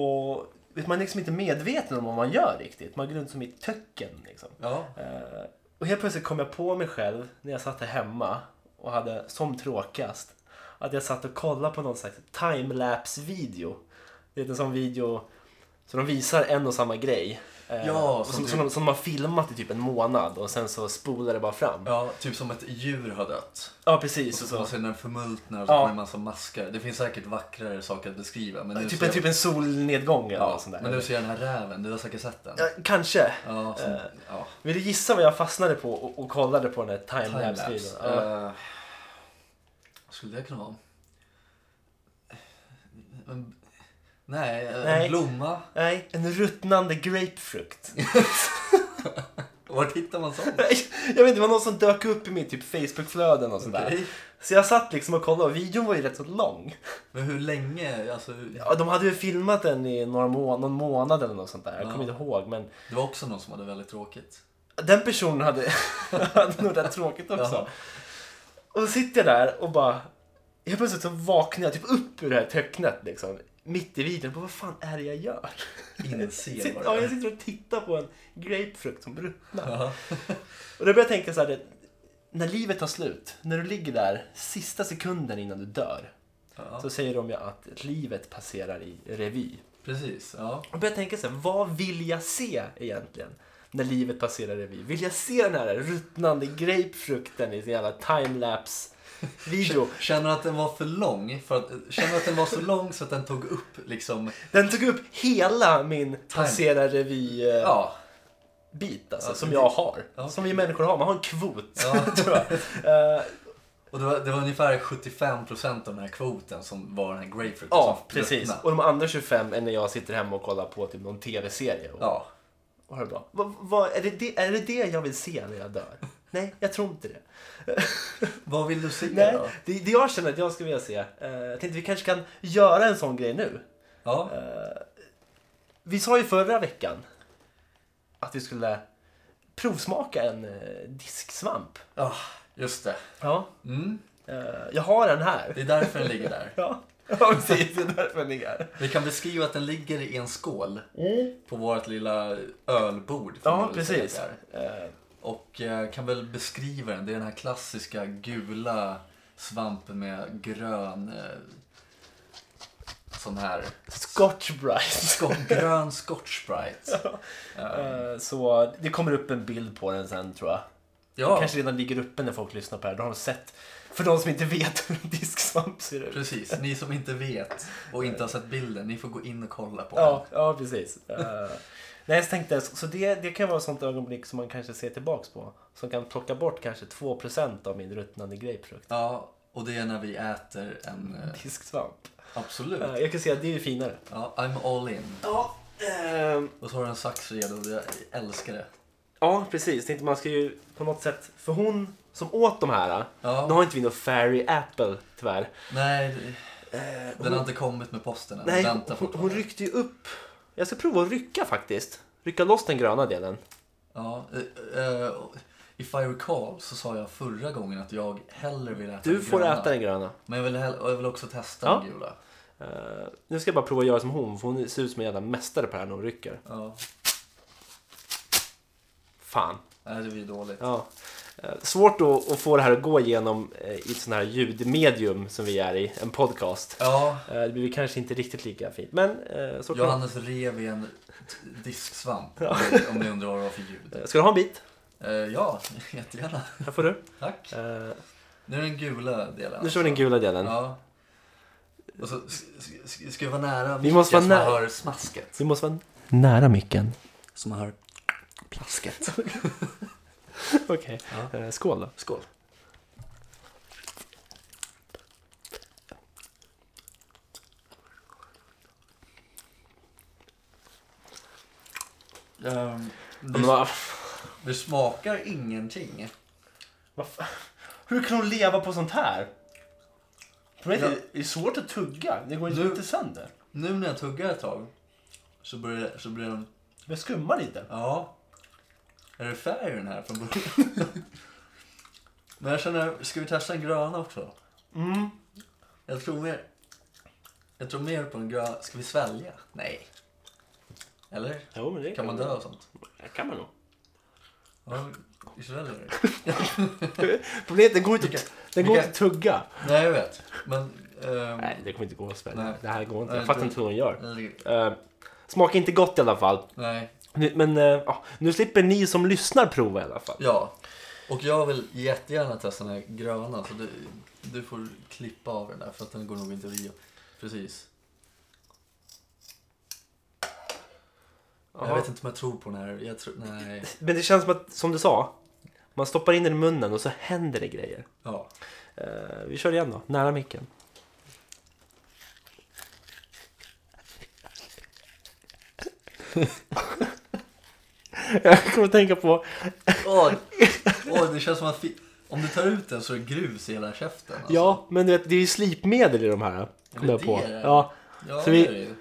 [SPEAKER 1] Och vet, man är liksom inte medveten om vad man gör riktigt. Man går runt som i ett töcken. Liksom.
[SPEAKER 2] Ja.
[SPEAKER 1] Eh, Och helt plötsligt kom jag på mig själv när jag satt här hemma och hade som tråkast att jag satt och kollade på någon slags timelapse-video. Det är en sån video så de visar en och samma grej. eh,
[SPEAKER 2] Ja,
[SPEAKER 1] och
[SPEAKER 2] som
[SPEAKER 1] som,
[SPEAKER 2] du-
[SPEAKER 1] som, de, som de har filmat i typ en månad och sen så spolar det bara fram. Ja,
[SPEAKER 2] Ja, typ som ett djur har dött.
[SPEAKER 1] precis.
[SPEAKER 2] Och
[SPEAKER 1] Och
[SPEAKER 2] så
[SPEAKER 1] så.
[SPEAKER 2] ser den förmultnar och så
[SPEAKER 1] Ja.
[SPEAKER 2] kommer en massa maskar. Det finns säkert vackrare saker att beskriva. Men nu
[SPEAKER 1] Typ,
[SPEAKER 2] ser
[SPEAKER 1] en,
[SPEAKER 2] jag-
[SPEAKER 1] typ en solnedgång eller
[SPEAKER 2] ja,
[SPEAKER 1] något sånt där.
[SPEAKER 2] Men nu ser jag den här räven, du har säkert sett den.
[SPEAKER 1] Ja, kanske.
[SPEAKER 2] Ja, som,
[SPEAKER 1] Eh,
[SPEAKER 2] ja.
[SPEAKER 1] Vill du gissa vad jag fastnade på och, och kollade på den här timelapse-videon?
[SPEAKER 2] Timelapse.
[SPEAKER 1] Ja.
[SPEAKER 2] Eh, vad skulle det kunna vara? En, nej,
[SPEAKER 1] Nej.
[SPEAKER 2] en blomma.
[SPEAKER 1] Nej, en ruttnande grapefrukt.
[SPEAKER 2] Var hittar man sånt?
[SPEAKER 1] Nej, jag vet inte, det var någon som dök upp i mitt typ Facebookflöden och sådär.
[SPEAKER 2] Okej.
[SPEAKER 1] Så jag satt liksom och kollade och videon var ju rätt så lång.
[SPEAKER 2] Men hur länge? Alltså,
[SPEAKER 1] Ja, de hade ju filmat den i några må- någon månad eller något sånt där. Jag
[SPEAKER 2] Ja.
[SPEAKER 1] kommer inte ihåg men
[SPEAKER 2] Det var också någon som hade väldigt tråkigt.
[SPEAKER 1] den personen hade, hade nog rätt tråkigt också.
[SPEAKER 2] Jaha.
[SPEAKER 1] Och så sitter jag där och bara helt plötsligt så vaknar jag typ upp ur det här töcknet liksom. Mitt i videon. Bara, vad fan är det jag gör?
[SPEAKER 2] Inser
[SPEAKER 1] Sitter,
[SPEAKER 2] vad
[SPEAKER 1] ja,
[SPEAKER 2] det
[SPEAKER 1] jag
[SPEAKER 2] är.
[SPEAKER 1] sitter och tittar på en grapefrukt som ruttnar.
[SPEAKER 2] Ja.
[SPEAKER 1] Och då börjar jag tänka så här, det, när livet tar slut, när du ligger där sista sekunden innan du dör,
[SPEAKER 2] Ja,
[SPEAKER 1] så säger de ju att livet passerar i revy.
[SPEAKER 2] precis. Ja.
[SPEAKER 1] Och börjar tänka så här, vad vill jag se egentligen? När livet passerar revy. Vill jag se den här ruttnande grapefrukten i sin jävla timelapse-video?
[SPEAKER 2] Känner att den var för lång? För att, känner att den var så lång så att den tog upp liksom...
[SPEAKER 1] Den tog upp hela min passera revy-bit
[SPEAKER 2] Ja.
[SPEAKER 1] alltså,
[SPEAKER 2] Ja,
[SPEAKER 1] som
[SPEAKER 2] det-
[SPEAKER 1] jag har.
[SPEAKER 2] ja.
[SPEAKER 1] Som vi människor har, man har en kvot.
[SPEAKER 2] ja.
[SPEAKER 1] tror jag. Eh,
[SPEAKER 2] Och det var, det var ungefär 75% av den här kvoten som var den här grapefruiten
[SPEAKER 1] Ja,
[SPEAKER 2] som
[SPEAKER 1] precis.
[SPEAKER 2] ruttnade.
[SPEAKER 1] Och de andra 25 är när jag sitter hemma och kollar på typ någon tv-serie. Och,
[SPEAKER 2] Ja.
[SPEAKER 1] och har det bra. Vad- vad- är, det det, är det det jag vill se när jag dör? Nej, jag tror inte det.
[SPEAKER 2] Vad vill du se
[SPEAKER 1] Nej,
[SPEAKER 2] då?
[SPEAKER 1] det, det jag känner att jag skulle vilja se. eh, jag tänkte vi kanske kan göra en sån grej nu.
[SPEAKER 2] Ja.
[SPEAKER 1] Vi sa ju förra veckan att vi skulle provsmaka en eh, disksvamp.
[SPEAKER 2] ja, just det.
[SPEAKER 1] Ja.
[SPEAKER 2] Mm.
[SPEAKER 1] eh, jag har den här.
[SPEAKER 2] Det är därför den ligger där.
[SPEAKER 1] Ja, ja precis. Det är därför den ligger här.
[SPEAKER 2] Vi kan beskriva att den ligger i en skål på vårt lilla ölbord. får
[SPEAKER 1] Mm. Ja,
[SPEAKER 2] man väl säga
[SPEAKER 1] precis.
[SPEAKER 2] att det är.
[SPEAKER 1] Eh,
[SPEAKER 2] Och eh, kan väl beskriva den. Det är den här klassiska gula svampen med grön eh, sån här
[SPEAKER 1] Scotch Brite.
[SPEAKER 2] sko- grön scotch sprite.
[SPEAKER 1] Eh, Så det kommer upp en bild på den sen tror jag.
[SPEAKER 2] Ja,
[SPEAKER 1] Kanske redan ligger uppe när folk lyssnar på det här. Då har de sett. För de som inte vet hur en disksvamp ser ut.
[SPEAKER 2] precis. Ni som inte vet och inte har sett bilden, ni får gå in och kolla på den.
[SPEAKER 1] Ja, ja precis. Eh, nej, jag tänkte, så så det, det kan vara ett sånt ögonblick som man kanske ser tillbaks på. Som kan plocka bort kanske 2% av min ruttnande grapefrukt.
[SPEAKER 2] Ja, och det är när vi äter en eh,
[SPEAKER 1] Disksvamp.
[SPEAKER 2] Absolut.
[SPEAKER 1] Eh, Jag kan säga att det är ju finare.
[SPEAKER 2] Ja, I'm all in.
[SPEAKER 1] Ja, ehm,
[SPEAKER 2] Och så har du en sax redo. Jag älskar det.
[SPEAKER 1] ja precis. Tänkte man ska ju på något sätt, för hon som åt de här,
[SPEAKER 2] Ja.
[SPEAKER 1] nu har inte vi någon Fairy Apple tyvärr.
[SPEAKER 2] Nej, det- den har inte kommit med posten än.
[SPEAKER 1] Eh, Nej,
[SPEAKER 2] Den väntar
[SPEAKER 1] hon, hon
[SPEAKER 2] fortfarande.
[SPEAKER 1] ryckte ju upp. Jag ska prova att rycka faktiskt. Rycka loss den gröna delen.
[SPEAKER 2] Ja, eh, eh, if I recall så sa jag förra gången att jag hellre vill äta
[SPEAKER 1] Du
[SPEAKER 2] den
[SPEAKER 1] får
[SPEAKER 2] gröna.
[SPEAKER 1] äta den gröna.
[SPEAKER 2] Men jag vill, hell- och jag vill också testa
[SPEAKER 1] Ja.
[SPEAKER 2] den gula.
[SPEAKER 1] Eh, nu ska jag bara prova att göra som hon, för hon ser ut som en jävla mästare på det här när hon rycker.
[SPEAKER 2] Ja.
[SPEAKER 1] Fan.
[SPEAKER 2] Nej, det blir dåligt.
[SPEAKER 1] Ja. Eh, Svårt att, att få det här att gå igenom eh, i ett sånt här ljudmedium som vi är i, en podcast.
[SPEAKER 2] Ja,
[SPEAKER 1] Eh, Det blir kanske inte riktigt lika fint, men eh, så kan
[SPEAKER 2] Johannes rev i en t- disksvamp. Om ni undrar vad det var för ljud.
[SPEAKER 1] Eh, Ska du ha en bit?
[SPEAKER 2] Eh, ja, jättegärna.
[SPEAKER 1] Här får du.
[SPEAKER 2] Tack.
[SPEAKER 1] Eh,
[SPEAKER 2] Nu är den gula delen.
[SPEAKER 1] Nu kör vi den gula delen.
[SPEAKER 2] Ja. Och så s- s- ska vi vara nära
[SPEAKER 1] Vi måste
[SPEAKER 2] micken
[SPEAKER 1] vara
[SPEAKER 2] så man
[SPEAKER 1] nära.
[SPEAKER 2] hör smasket.
[SPEAKER 1] Vi måste vara nära micken.
[SPEAKER 2] Så man hör plasket.
[SPEAKER 1] Okej.
[SPEAKER 2] Ja.
[SPEAKER 1] Eh, Skål då.
[SPEAKER 2] Skål. Ehm,
[SPEAKER 1] Men
[SPEAKER 2] det,
[SPEAKER 1] vad...
[SPEAKER 2] det smakar ingenting.
[SPEAKER 1] vad fa- Hur kan hon leva på sånt här? För mig är det- Det är svårt att tugga. Det går
[SPEAKER 2] Nu-
[SPEAKER 1] sönder.
[SPEAKER 2] Nu när jag tuggar ett tag så börjar så blir den...
[SPEAKER 1] Jag skummar lite.
[SPEAKER 2] Ja. Är det färg i den här från början? Men jag känner, ska vi testa den gröna också?
[SPEAKER 1] Mm.
[SPEAKER 2] Jag tror mer... Jag tror mer på den gröna. Ska vi svälja? Nej. Eller?
[SPEAKER 1] Jo, men det
[SPEAKER 2] Kan man dö och sånt?
[SPEAKER 1] Det kan man nog.
[SPEAKER 2] Ja, vi sväljer det.
[SPEAKER 1] Problemet är att den går inte
[SPEAKER 2] Vilka-
[SPEAKER 1] att- den går
[SPEAKER 2] vilka-
[SPEAKER 1] inte att tugga.
[SPEAKER 2] Nej, jag vet. Men... ehm,
[SPEAKER 1] Nej, det kommer inte gå att
[SPEAKER 2] Nej.
[SPEAKER 1] spela. Det här går inte.
[SPEAKER 2] Nej,
[SPEAKER 1] Jag fattar
[SPEAKER 2] det-
[SPEAKER 1] inte hur hon gör.
[SPEAKER 2] eller-
[SPEAKER 1] Uh, smakar inte gott i alla fall.
[SPEAKER 2] Nej.
[SPEAKER 1] Nu- Men eh, ja, nu slipper ni som lyssnar prova i alla fall.
[SPEAKER 2] Ja. Och jag vill jättegärna testa den här gröna. Så du, du får klippa av den där för att den går nog inte via. Precis.
[SPEAKER 1] Jaha.
[SPEAKER 2] Jag vet inte om jag tror på den här. Jag tror, nej.
[SPEAKER 1] Men det känns som att, som du sa, man stoppar in den i munnen och så händer det grejer.
[SPEAKER 2] Ja.
[SPEAKER 1] Eh, vi kör igen då, nära micken. Jag kommer att tänka på,
[SPEAKER 2] Åh, åh, det känns som att fi- om du tar ut den så är det grus i hela käften. Alltså.
[SPEAKER 1] ja men du vet, det är ju slipmedel i de här. Kom
[SPEAKER 2] det
[SPEAKER 1] jag på.
[SPEAKER 2] det det är?
[SPEAKER 1] Ja,
[SPEAKER 2] ja
[SPEAKER 1] så vi-
[SPEAKER 2] det är det ju.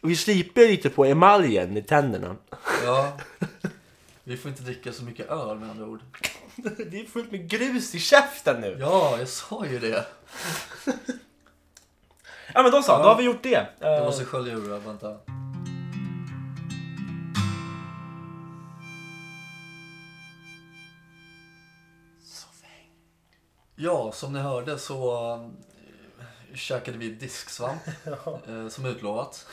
[SPEAKER 1] och vi sliper lite på emaljen i tänderna.
[SPEAKER 2] Ja. Vi får inte dricka så mycket öl med andra ord.
[SPEAKER 1] Det är fullt med grus i käften nu.
[SPEAKER 2] Ja, jag sa ju det.
[SPEAKER 1] Ja men då så, då har vi gjort det.
[SPEAKER 2] Jag
[SPEAKER 1] Eh,
[SPEAKER 2] måste skölja ur det, vänta. Ja, som ni hörde så äh, käkade vi disksvamp, eh, som utlovat.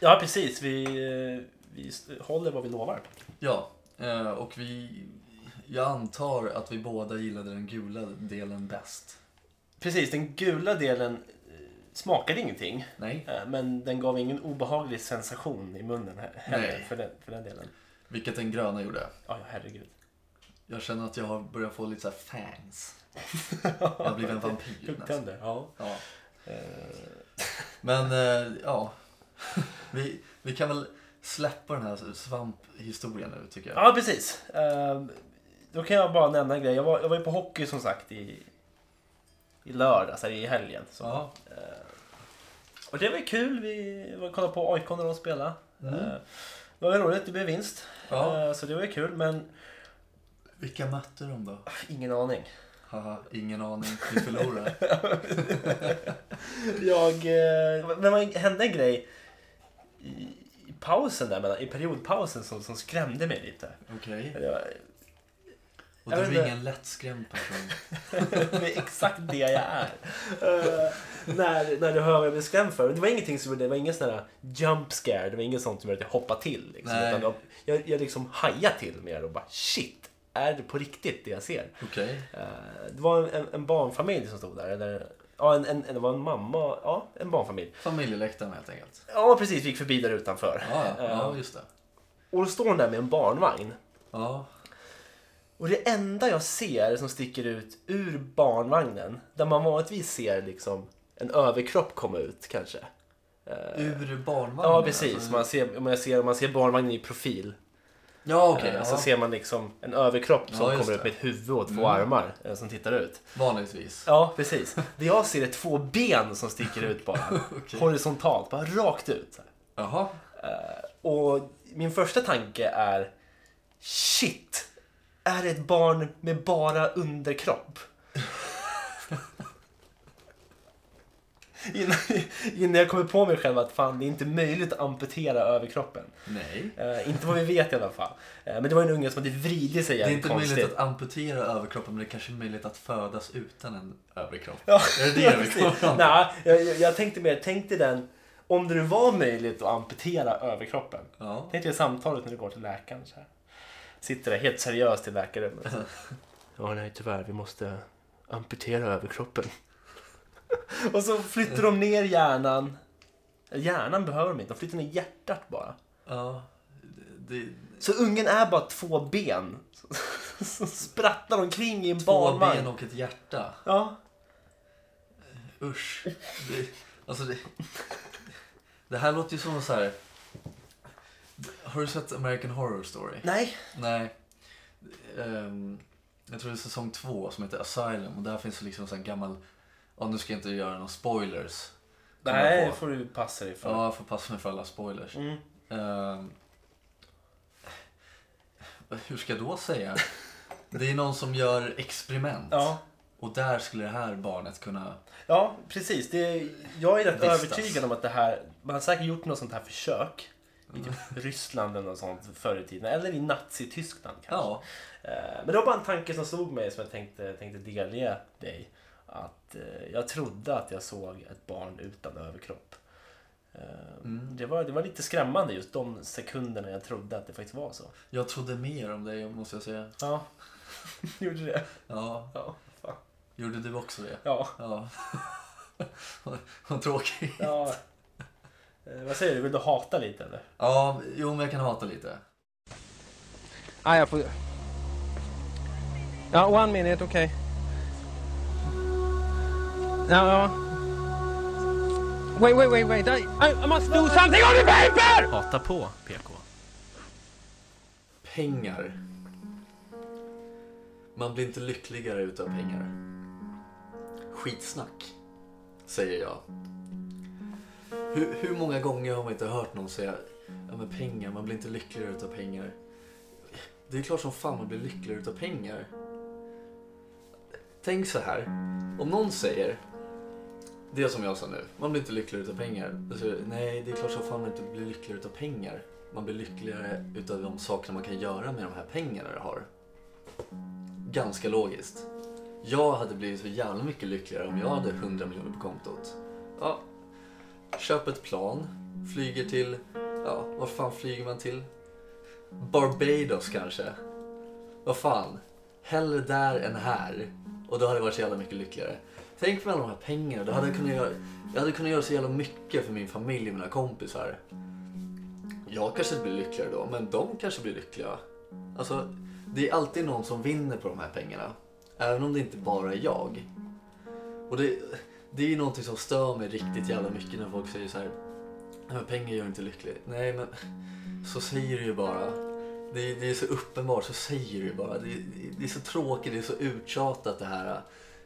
[SPEAKER 1] Ja precis, vi, eh, vi st- håller vad vi lovar.
[SPEAKER 2] Ja, eh, och vi... Jag antar att vi båda gillade den gula delen bäst.
[SPEAKER 1] Precis, den gula delen eh, smakade ingenting.
[SPEAKER 2] Nej.
[SPEAKER 1] eh, Men den gav ingen obehaglig sensation i munnen he- heller
[SPEAKER 2] Nej.
[SPEAKER 1] för den, för den delen.
[SPEAKER 2] Vilket den gröna gjorde.
[SPEAKER 1] Ja, ja, herregud.
[SPEAKER 2] Jag känner att jag har börjat få lite så här fangs. Jag har blivit en vampyr nästan.
[SPEAKER 1] Kuggtänder. Ja.
[SPEAKER 2] Ja.
[SPEAKER 1] Eh,
[SPEAKER 2] Men eh, ja, vi, vi kan väl släppa den här svamphistorien nu tycker jag.
[SPEAKER 1] ja, precis. Eh, Då kan jag bara nämna en grej. Jag var, jag var ju på hockey som sagt i, i lördags, eller i helgen. Så.
[SPEAKER 2] Ja,
[SPEAKER 1] Och det var ju kul. Vi var och kollade på AIK när de spelade. Eh, Det var ju roligt, det blev vinst.
[SPEAKER 2] Mm. Ja.
[SPEAKER 1] Eh, Så det var ju kul, men
[SPEAKER 2] vilka mötte de då?
[SPEAKER 1] ingen aning.
[SPEAKER 2] Haha, ingen aning. Vi förlorade.
[SPEAKER 1] Jag... eh, Men det hände en grej i, i pausen där, mellan- i periodpausen som, som skrämde mig lite.
[SPEAKER 2] Okej.
[SPEAKER 1] Jag,
[SPEAKER 2] Och
[SPEAKER 1] Jag
[SPEAKER 2] du
[SPEAKER 1] vet
[SPEAKER 2] är
[SPEAKER 1] inte.
[SPEAKER 2] ingen lättskrämd person.
[SPEAKER 1] det är exakt det jag är. Eh, när, när du hör vad jag blir skrämd för. Det var ingenting som det var ingen sån där jump scare. Det var inget sånt som gjorde att jag hoppade till. Liksom,
[SPEAKER 2] Nej.
[SPEAKER 1] utan jag, jag, jag liksom hajade till mer och bara shit, är det på riktigt det jag ser?
[SPEAKER 2] Okej.
[SPEAKER 1] Eh, det var en, en, en barnfamilj som stod där. Eller, ja, en, en, det var en mamma. Ja, en barnfamilj.
[SPEAKER 2] Familjeläktaren helt enkelt.
[SPEAKER 1] Ja, precis. Vi gick förbi där utanför.
[SPEAKER 2] Ja, ja, ja
[SPEAKER 1] Eh,
[SPEAKER 2] just det.
[SPEAKER 1] och då står hon där med en barnvagn.
[SPEAKER 2] Ja,
[SPEAKER 1] Och det enda jag ser som sticker ut ur barnvagnen, där man vanligtvis ser liksom en överkropp komma ut kanske.
[SPEAKER 2] Ur barnvagnen?
[SPEAKER 1] Eh. Ja, precis.
[SPEAKER 2] alltså.
[SPEAKER 1] Man ser, om, jag ser, om man ser barnvagnen i profil
[SPEAKER 2] Ja, okej. Alltså,
[SPEAKER 1] eh, så
[SPEAKER 2] ja.
[SPEAKER 1] ser man liksom en överkropp som
[SPEAKER 2] Ja, just
[SPEAKER 1] kommer ut
[SPEAKER 2] det. Mm.
[SPEAKER 1] med ett huvud och två armar eh, som tittar ut.
[SPEAKER 2] Vanligtvis.
[SPEAKER 1] Ja, precis. Det jag ser är två ben som sticker ut bara.
[SPEAKER 2] Okej.
[SPEAKER 1] Horisontalt, bara rakt ut. så här.
[SPEAKER 2] Jaha.
[SPEAKER 1] Och min första tanke är Shit! Är det ett barn med bara underkropp? innan, innan jag kommer på mig själv att fan, det är inte möjligt att amputera överkroppen.
[SPEAKER 2] Nej.
[SPEAKER 1] Eh, inte vad vi vet i alla fall. Eh, men det var en unge som hade vridit sig
[SPEAKER 2] Det är
[SPEAKER 1] jävligt
[SPEAKER 2] inte
[SPEAKER 1] konstigt.
[SPEAKER 2] möjligt att amputera överkroppen men det kanske är möjligt att födas utan en överkropp.
[SPEAKER 1] Ja,
[SPEAKER 2] Är det det
[SPEAKER 1] ja,
[SPEAKER 2] vi
[SPEAKER 1] precis.
[SPEAKER 2] kommer fram till?
[SPEAKER 1] Nej, jag, jag- jag tänkte mer, tänk dig den, om det nu var möjligt att amputera överkroppen.
[SPEAKER 2] Ja.
[SPEAKER 1] Tänk dig samtalet när du går till läkaren så här. Sitter där helt seriöst i läkarrummet. så. Ja, nej tyvärr, vi måste amputera överkroppen. Och så flyttar de ner hjärnan. Hjärnan behöver de inte, de flyttar ner hjärtat bara.
[SPEAKER 2] ja. Det,
[SPEAKER 1] Så ungen är bara två ben. Som sprattlar omkring i en
[SPEAKER 2] två ben
[SPEAKER 1] barnvagn.
[SPEAKER 2] och ett hjärta.
[SPEAKER 1] Ja,
[SPEAKER 2] Usch. Det, alltså det, det här låter ju som så här... Har du sett American Horror Story?
[SPEAKER 1] nej.
[SPEAKER 2] Nej. Ehm, jag tror det är säsong två som heter Asylum och där finns det liksom så här gammal... Ja, nu ska jag inte göra några spoilers. kommer jag
[SPEAKER 1] Nej,
[SPEAKER 2] på.
[SPEAKER 1] det får du passa dig för.
[SPEAKER 2] Ja, jag får passa mig för alla spoilers.
[SPEAKER 1] Mm.
[SPEAKER 2] Ehm, hur ska jag då säga? Det är någon som gör experiment.
[SPEAKER 1] Ja.
[SPEAKER 2] Och där skulle det här barnet kunna...
[SPEAKER 1] Ja, precis. Det, jag är rätt
[SPEAKER 2] Vistas.
[SPEAKER 1] övertygad om att det här... Man har säkert gjort något sånt här försök. I typ Ryssland eller något sånt förr i tiden. Eller i Nazityskland kanske.
[SPEAKER 2] Ja,
[SPEAKER 1] Eh, Men det var bara en tanke som slog mig som jag tänkte, tänkte delge dig. Att eh, jag trodde att jag såg ett barn utan överkropp. Eh, Det, var, det var lite skrämmande just de sekunderna jag trodde att det faktiskt var så.
[SPEAKER 2] jag trodde mer om dig måste jag säga.
[SPEAKER 1] Ja, gjorde det.
[SPEAKER 2] Ja,
[SPEAKER 1] Ja, fan.
[SPEAKER 2] gjorde du också det?
[SPEAKER 1] ja.
[SPEAKER 2] Ja. Vad tråkigt.
[SPEAKER 1] ja. Eh, Vad säger du, vill du hata lite eller?
[SPEAKER 2] Ja, jo men jag kan hata lite.
[SPEAKER 5] Ah, jag får... Ja, one minute, okej. Ja, ja. Wait, wait, wait, wait. I, I must do something on the paper!
[SPEAKER 1] Hata på PK.
[SPEAKER 2] Pengar. Man blir inte lyckligare utav pengar. Skitsnack, säger jag. Hur, hur många gånger har man inte hört någon säga ja, men pengar, man blir inte lyckligare utav pengar. Det är klart som fan man blir lyckligare utav pengar. Tänk så här, om någon säger det som jag sa nu, man blir inte lyckligare utav pengar. Då säger du, nej, det är klart som fan man inte blir lyckligare utav pengar. Man blir lyckligare utav de sakerna man kan göra med de här pengarna du har. Ganska logiskt. Jag hade blivit så jävla mycket lyckligare om jag hade 100 miljoner på kontot. Ja, köp ett plan, flyger till, ja, var fan flyger man till? Barbados kanske? Vad fan, hellre där än här. Och då hade jag varit så jävla mycket lyckligare. Tänk med alla de här pengarna, då hade jag, kunnat göra, jag hade kunnat göra så jävla mycket för min familj och mina kompisar. Jag kanske inte blir lyckligare då, men de kanske blir lyckliga. Alltså, det är alltid någon som vinner på de här pengarna. Även om det inte bara är jag. Och det, det är ju någonting som stör mig riktigt jävla mycket när folk säger så här. "Nej, men Pengar gör inte lycklig. Nej, men så säger du ju bara. Det, är- det är så uppenbart, så säger du ju bara. Det, det, det är så tråkigt, det är så uttjatat det här.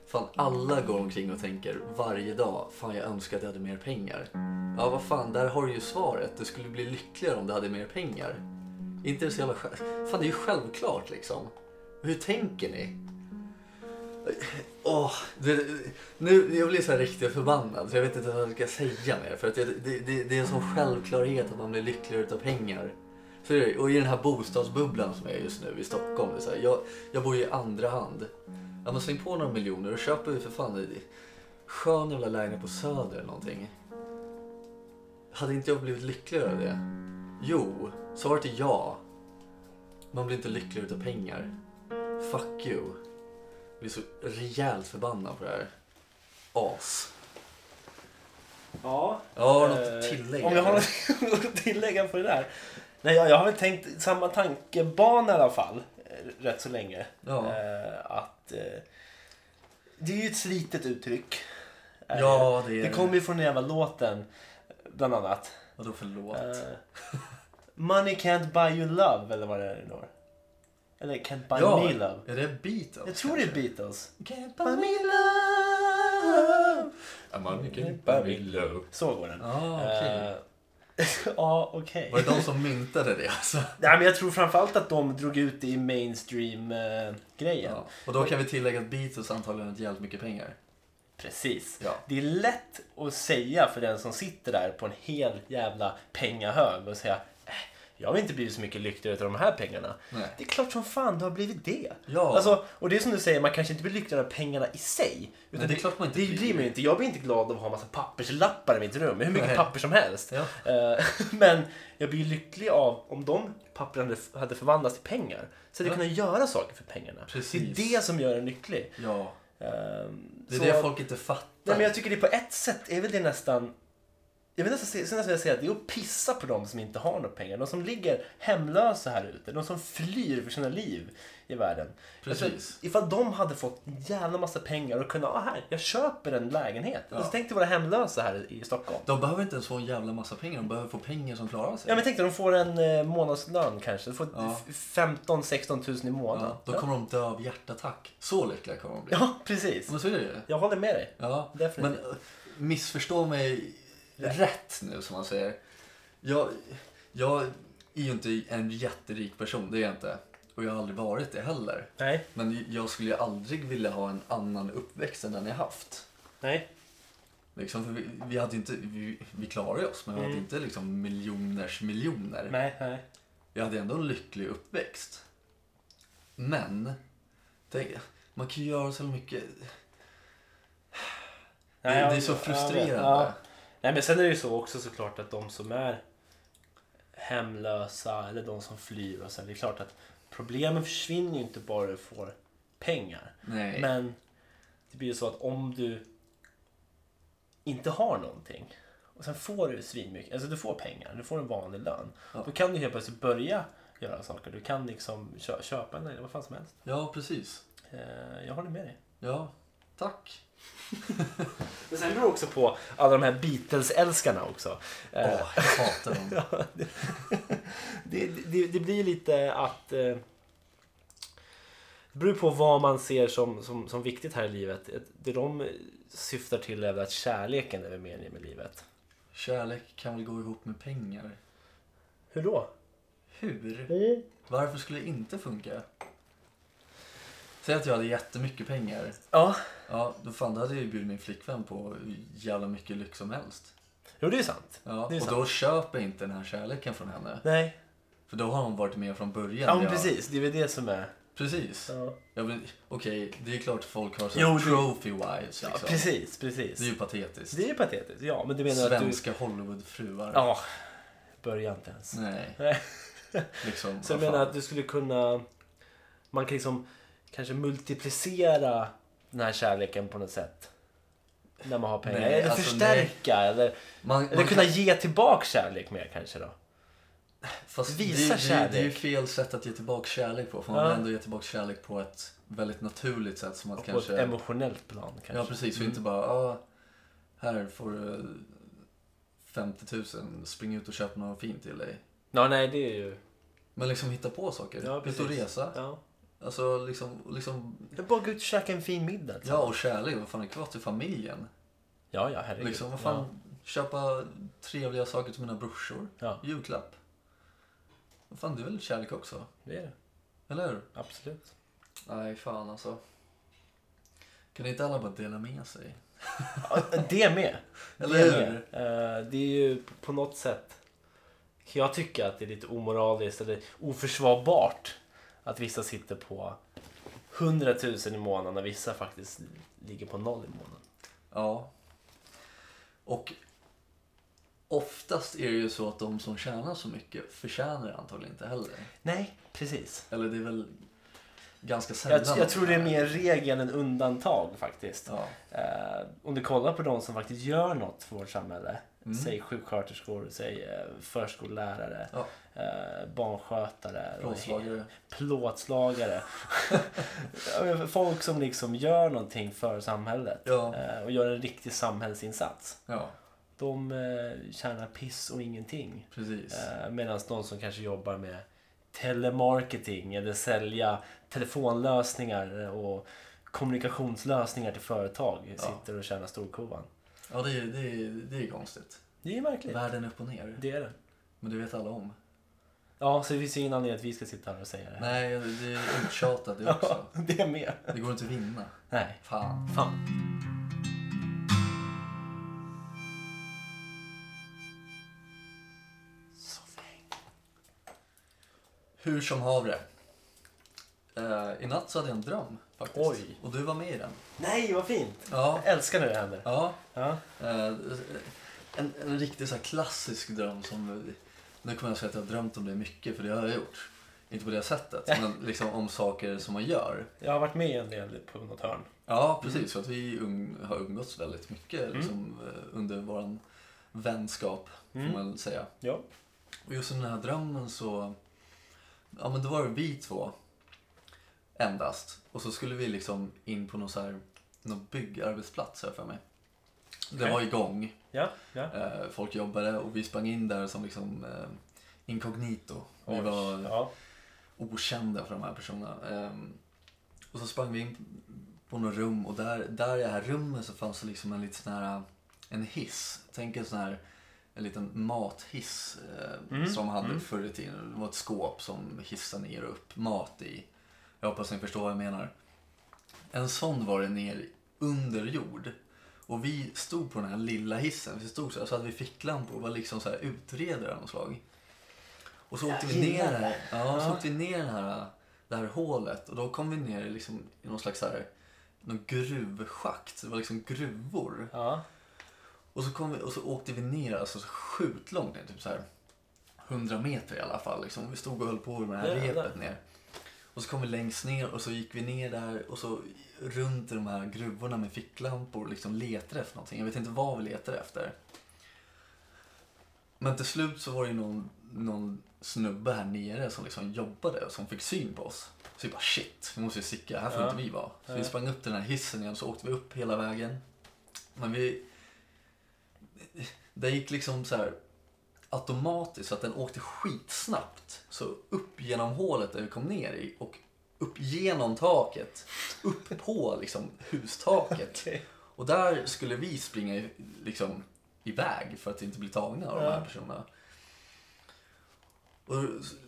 [SPEAKER 2] Fan, alla går omkring och tänker varje dag, fan jag önskar att jag hade mer pengar. Ja, vad fan, där har du ju svaret. Du skulle bli lyckligare om du hade mer pengar. Inte det så jävla själv... Fan, det är ju självklart liksom. Hur tänker ni? Åh, det, nu, jag blir så här riktigt förbannad så jag vet inte vad jag ska säga mer. För att det, det, det, det är en sån självklarhet att man blir lyckligare utav pengar. Så är det, ju. och i den här bostadsbubblan som är just nu i Stockholm. Det är så här, jag, jag bor ju i andra hand. Ja men släng på några miljoner och köper ju för fan en skön jävla lägenhet på Söder eller någonting. Hade inte jag blivit lyckligare av det? Jo, svaret är ja. Man blir inte lyckligare utav pengar. Fuck you. Jag blir så rejält förbannad på det här. As.
[SPEAKER 1] Ja.
[SPEAKER 2] Ja, har du något att tillägga?
[SPEAKER 1] Eh, Om jag har något att tillägga på det där. Nej, jag, jag har väl tänkt samma tankebana i alla fall. eh, Rätt så länge.
[SPEAKER 2] Ja.
[SPEAKER 1] Eh, att, eh, det är ju ett slitet uttryck. är
[SPEAKER 2] Ja, det är
[SPEAKER 1] Det
[SPEAKER 2] det.
[SPEAKER 1] kommer ju från den jävla låten, bland annat.
[SPEAKER 2] Vadå för låt?
[SPEAKER 1] Eh, Money can't buy you love, eller vad det är då. Eller can't buy
[SPEAKER 2] ja,
[SPEAKER 1] me love.
[SPEAKER 2] är det Beatles?
[SPEAKER 1] Jag tror det är Beatles.
[SPEAKER 2] Can't buy me love.
[SPEAKER 6] A money can buy me love.
[SPEAKER 1] Så går den.
[SPEAKER 2] Ah, okej.
[SPEAKER 1] Eh, ja, okej.
[SPEAKER 2] Var det de som myntade det alltså?
[SPEAKER 1] Nej, men jag tror framförallt att de drog ut det i eh, mainstream-grejen.
[SPEAKER 2] Ja. Och då kan vi tillägga att Beatles antagligen har ett jävligt mycket pengar.
[SPEAKER 1] Precis.
[SPEAKER 2] Ja.
[SPEAKER 1] Det är lätt att säga för den som sitter där på en hel jävla pengahög och säga "Äh, jag har inte blivit så mycket lyckligare av de här pengarna.
[SPEAKER 2] Nej.
[SPEAKER 1] Det är klart som fan du har blivit det.
[SPEAKER 2] Ja.
[SPEAKER 1] Alltså, och det är som du säger, man kanske inte blir lyckligare av pengarna i sig. Utan
[SPEAKER 2] det är klart man inte
[SPEAKER 1] det
[SPEAKER 2] blir.
[SPEAKER 1] blir man ju inte. Jag blir inte glad av att ha en massa papperslappar i mitt rum. Hur mycket
[SPEAKER 2] Nej.
[SPEAKER 1] papper som helst.
[SPEAKER 2] Ja.
[SPEAKER 1] Eh, Men jag blir ju lycklig av om de papperna hade- hade förvandlats till pengar. Så hade jag
[SPEAKER 2] Ja.
[SPEAKER 1] kunnat göra saker för pengarna.
[SPEAKER 2] Precis.
[SPEAKER 1] Det är det som gör en lycklig.
[SPEAKER 2] Ja,
[SPEAKER 1] Ehm,
[SPEAKER 2] det är
[SPEAKER 1] så-
[SPEAKER 2] det folk inte fattar.
[SPEAKER 1] Nej, men jag tycker det på ett sätt är väl det nästan... Jag vill nästan säga, så nästan vill jag säga att det är att pissa på de som inte har några pengar. De som ligger hemlösa här ute. De som flyr för sina liv i världen. Jag tror att
[SPEAKER 2] Precis.
[SPEAKER 1] Ifall de hade fått en jävla massa pengar och kunnat, ah här, jag köper en lägenhet.
[SPEAKER 2] Ja.
[SPEAKER 1] Alltså, tänk dig vara hemlösa här i Stockholm.
[SPEAKER 2] De behöver inte ens få en jävla massa pengar, de behöver få pengar som klarar sig.
[SPEAKER 1] Ja men tänk dig, de får en eh, månadslön kanske. De får
[SPEAKER 2] Ja.
[SPEAKER 1] 15-16 tusen i månaden.
[SPEAKER 2] Ja, då kommer de dö av hjärtattack. Så lyckliga kommer de bli.
[SPEAKER 1] ja, precis.
[SPEAKER 2] Men så är det ju.
[SPEAKER 1] Jag håller med dig.
[SPEAKER 2] Ja,
[SPEAKER 1] Definitivt.
[SPEAKER 2] Men eh, missförstå mig rätt nu som man säger. Jag, jag är ju inte en jätterik person, det är jag inte. Och jag har aldrig varit det heller.
[SPEAKER 1] Nej,
[SPEAKER 2] Men jag skulle ju aldrig vilja ha en annan uppväxt än den jag haft.
[SPEAKER 1] nej.
[SPEAKER 2] Liksom, för vi, vi, hade ju inte, vi, vi klarade oss, men vi hade
[SPEAKER 1] Mm.
[SPEAKER 2] inte liksom miljoners miljoner.
[SPEAKER 1] Nej, nej.
[SPEAKER 2] Jag hade ändå en lycklig uppväxt. Men, tänk, man kan ju göra så mycket. Det,
[SPEAKER 1] Nej, jag-
[SPEAKER 2] det är så
[SPEAKER 1] jag vet.
[SPEAKER 2] frustrerande.
[SPEAKER 1] Ja. Nej men sen är det ju så också såklart att de som är hemlösa eller de som flyr och sen det är klart att problemen försvinner ju inte bara du får pengar.
[SPEAKER 2] Nej.
[SPEAKER 1] Men det blir ju så att om du inte har någonting och sen får du svinmycket, alltså du får pengar, du får en vanlig lön.
[SPEAKER 2] Ja.
[SPEAKER 1] Då kan du helt plötsligt börja göra saker. Du kan liksom kö- köpa en eller vad fan som helst.
[SPEAKER 2] Ja, precis.
[SPEAKER 1] Eh, Jag håller med dig.
[SPEAKER 2] Ja, tack.
[SPEAKER 1] Men sen beror det också på alla de här Beatles-älskarna också.
[SPEAKER 2] Åh,
[SPEAKER 1] Eh,
[SPEAKER 2] jag hatar dem.
[SPEAKER 1] Ja, det, det, det, det blir lite att... Eh, det beror på vad man ser som, som, som viktigt här i livet. Ett- Det de syftar till är väl att kärleken är väl meningen med livet.
[SPEAKER 2] Kärlek kan väl gå ihop med pengar?
[SPEAKER 1] Hur då?
[SPEAKER 2] Hur?
[SPEAKER 1] Mm.
[SPEAKER 2] Varför skulle det inte funka? Säg att jag hade jättemycket pengar.
[SPEAKER 1] Ja,
[SPEAKER 2] Ja, då fan då hade jag ju bjudit min flickvän på hur jävla mycket lyx som helst.
[SPEAKER 1] jo det är sant.
[SPEAKER 2] Ja,
[SPEAKER 1] Det är
[SPEAKER 2] och då köper jag inte den här kärleken från henne.
[SPEAKER 1] Nej.
[SPEAKER 2] För då har hon varit med från början.
[SPEAKER 1] Ja, men
[SPEAKER 2] Jag-
[SPEAKER 1] precis. Det är väl det som är...
[SPEAKER 2] Precis.
[SPEAKER 1] Ja.
[SPEAKER 2] Ja, men Okej, det är klart folk har så
[SPEAKER 1] Jo,
[SPEAKER 2] här
[SPEAKER 1] det-
[SPEAKER 2] trophy wives liksom.
[SPEAKER 1] Precis,
[SPEAKER 2] Det är
[SPEAKER 1] precis.
[SPEAKER 2] ju patetiskt.
[SPEAKER 1] Det är patetiskt. Ja, men du menar att du...
[SPEAKER 2] Svenska Hollywoodfruar.
[SPEAKER 1] Ja, börja inte ens.
[SPEAKER 2] Nej.
[SPEAKER 1] Nej.
[SPEAKER 2] Liksom,
[SPEAKER 1] Så jag
[SPEAKER 2] vad fan.
[SPEAKER 1] menar att du skulle kunna... Man kan liksom kanske multiplicera den här kärleken på något sätt. När man har pengar.
[SPEAKER 2] Nej,
[SPEAKER 1] eller
[SPEAKER 2] alltså,
[SPEAKER 1] förstärka eller,
[SPEAKER 2] Man,
[SPEAKER 1] eller
[SPEAKER 2] man
[SPEAKER 1] kunna
[SPEAKER 2] kan-
[SPEAKER 1] ge tillbaka kärlek mer kanske då.
[SPEAKER 2] fast
[SPEAKER 1] visa
[SPEAKER 2] det, Det, det är ju
[SPEAKER 1] kärlek.
[SPEAKER 2] fel sätt att ge tillbaka kärlek på. För man
[SPEAKER 1] Ja.
[SPEAKER 2] vill ändå ge tillbaka kärlek på ett väldigt naturligt sätt. Som att
[SPEAKER 1] På ett Mm.
[SPEAKER 2] kanske...
[SPEAKER 1] emotionellt plan kanske.
[SPEAKER 2] Ja, precis. Och inte bara, ah, här får du 50 000. Spring ut och köp något fint till dig.
[SPEAKER 1] Ja, nej det är ju...
[SPEAKER 2] Men liksom hitta på saker.
[SPEAKER 1] Ja,
[SPEAKER 2] ut och
[SPEAKER 1] precis.
[SPEAKER 2] resa.
[SPEAKER 1] Ja.
[SPEAKER 2] Alltså liksom, liksom...
[SPEAKER 1] Men Bara gå ut och käka en fin middag. liksom.
[SPEAKER 2] Ja, och kärlek. Vad fan är kvar till familjen?
[SPEAKER 1] ja, ja herregud.
[SPEAKER 2] Liksom, vad fan, köpa trevliga saker till mina brorsor.
[SPEAKER 1] Ja.
[SPEAKER 2] Julklapp. Vad fan, det är väl kärlek också?
[SPEAKER 1] Ja, det är det.
[SPEAKER 2] Eller hur?
[SPEAKER 1] Absolut.
[SPEAKER 2] Nej, fan alltså. Kan inte alla bara dela med sig?
[SPEAKER 1] Ja, det med.
[SPEAKER 2] Eller
[SPEAKER 1] det,
[SPEAKER 2] hur?
[SPEAKER 1] med. Eh, det är ju på något sätt kan jag tycka att det är lite omoraliskt eller oförsvarbart att vissa sitter på 100 000 i månaden och vissa faktiskt ligger på noll i månaden.
[SPEAKER 2] Ja. Och oftast är det ju så att de som tjänar så mycket förtjänar det antagligen inte heller.
[SPEAKER 1] Nej, precis.
[SPEAKER 2] Eller det är väl ganska sällan.
[SPEAKER 1] Jag, jag tror det är mer regel än undantag faktiskt.
[SPEAKER 2] Ja.
[SPEAKER 1] Eh, om du kollar på de som faktiskt gör något för vårt samhälle
[SPEAKER 2] Mm.
[SPEAKER 1] Säg sjuksköterskor, säg eh, förskollärare,
[SPEAKER 2] Ja.
[SPEAKER 1] eh, barnskötare,
[SPEAKER 2] Plåtslagare.
[SPEAKER 1] plåtslagare. Ja, men Folk som liksom gör någonting för samhället
[SPEAKER 2] Ja.
[SPEAKER 1] eh, och gör en riktig samhällsinsats.
[SPEAKER 2] Ja,
[SPEAKER 1] De eh, tjänar piss och ingenting.
[SPEAKER 2] precis.
[SPEAKER 1] Eh. Medan de som kanske jobbar med telemarketing eller sälja telefonlösningar och kommunikationslösningar till företag sitter och tjänar storkovan.
[SPEAKER 2] Ja, det är, det är, det är konstigt.
[SPEAKER 1] Det är märkligt.
[SPEAKER 2] Världen upp och ner.
[SPEAKER 1] Det är det.
[SPEAKER 2] Men det vet alla om.
[SPEAKER 1] Ja, så det finns ju ingen anledning att vi ska sitta här och säga det. här.
[SPEAKER 2] Nej, det är uttjatat det också.
[SPEAKER 1] det är med.
[SPEAKER 2] Det går inte att vinna.
[SPEAKER 1] Nej.
[SPEAKER 2] Fan.
[SPEAKER 1] Fan.
[SPEAKER 2] Hur som havre. Eh, I natt så hade jag en dröm faktiskt.
[SPEAKER 1] Oj.
[SPEAKER 2] Och du var med i den.
[SPEAKER 1] Nej, vad fint!
[SPEAKER 2] Ja.
[SPEAKER 1] Jag älskar när det händer.
[SPEAKER 2] ja.
[SPEAKER 1] Ja.
[SPEAKER 2] Eh, en, en riktig så här klassisk dröm som... Nu kommer jag säga att jag har drömt om det mycket, för det har jag gjort. Inte på det sättet, men liksom om saker som man gör.
[SPEAKER 1] Jag har varit med en del på något hörn.
[SPEAKER 2] Ja, precis. För att vi um, har umgåtts väldigt mycket liksom, eh, under vår vänskap, får man säga.
[SPEAKER 1] Ja.
[SPEAKER 2] Och just i den här drömmen så... Ja, men då var det vi två endast. Och så skulle vi liksom in på någon, så här, någon byggarbetsplats, har jag för mig. Det
[SPEAKER 1] Okej.
[SPEAKER 2] var igång.
[SPEAKER 1] Ja. ja.
[SPEAKER 2] Eh, folk jobbade och vi sprang in där som liksom eh, inkognito. Vi
[SPEAKER 1] Oj.
[SPEAKER 2] var
[SPEAKER 1] Ja.
[SPEAKER 2] okända för de här personerna. Ehm, och så sprang vi in på något rum och där, där i det här rummet så fanns det liksom en liten sån här, en hiss. Tänk en sån här, en liten mathiss eh, som man hade förr i tiden. Det var ett skåp som hissade ner och upp mat i. Jag hoppas ni förstår vad jag menar. En sån var det ner under jord. Och vi stod på den här lilla hissen. Vi stod så, här, så hade vi ficklampor och var liksom så här utredare av något slag. Och så åkte vi ner,
[SPEAKER 1] gillar
[SPEAKER 2] här, ja, så åkte vi ner den här, det här hålet och då kom vi ner i liksom, i någon slags så här, någon gruvschakt. Det var liksom gruvor.
[SPEAKER 1] Ja.
[SPEAKER 2] Och så, kom vi, och så åkte vi ner alltså så sjukt långt ner, typ så här 100 meter i alla fall. Liksom. Vi stod och höll på med det här
[SPEAKER 1] Jävlar.
[SPEAKER 2] repet ner. Och så kom vi längst ner och så gick vi ner där och så runt i de här gruvorna med ficklampor och liksom letade efter någonting. Jag vet inte vad vi letade efter. Men till slut så var det ju någon, någon snubbe här nere som liksom jobbade och som fick syn på oss. Så vi bara shit, vi måste ju sticka, här får
[SPEAKER 1] Ja.
[SPEAKER 2] inte vi vara. Så vi sprang upp till den här hissen igen så åkte vi upp hela vägen. Men vi... Det gick liksom så här automatiskt så att den åkte skitsnabbt. Så upp genom hålet där vi kom ner i och upp genom taket. Upp på liksom hustaket.
[SPEAKER 1] Okej.
[SPEAKER 2] Och där skulle vi springa i- liksom iväg för att inte bli tagna av de här personerna. Och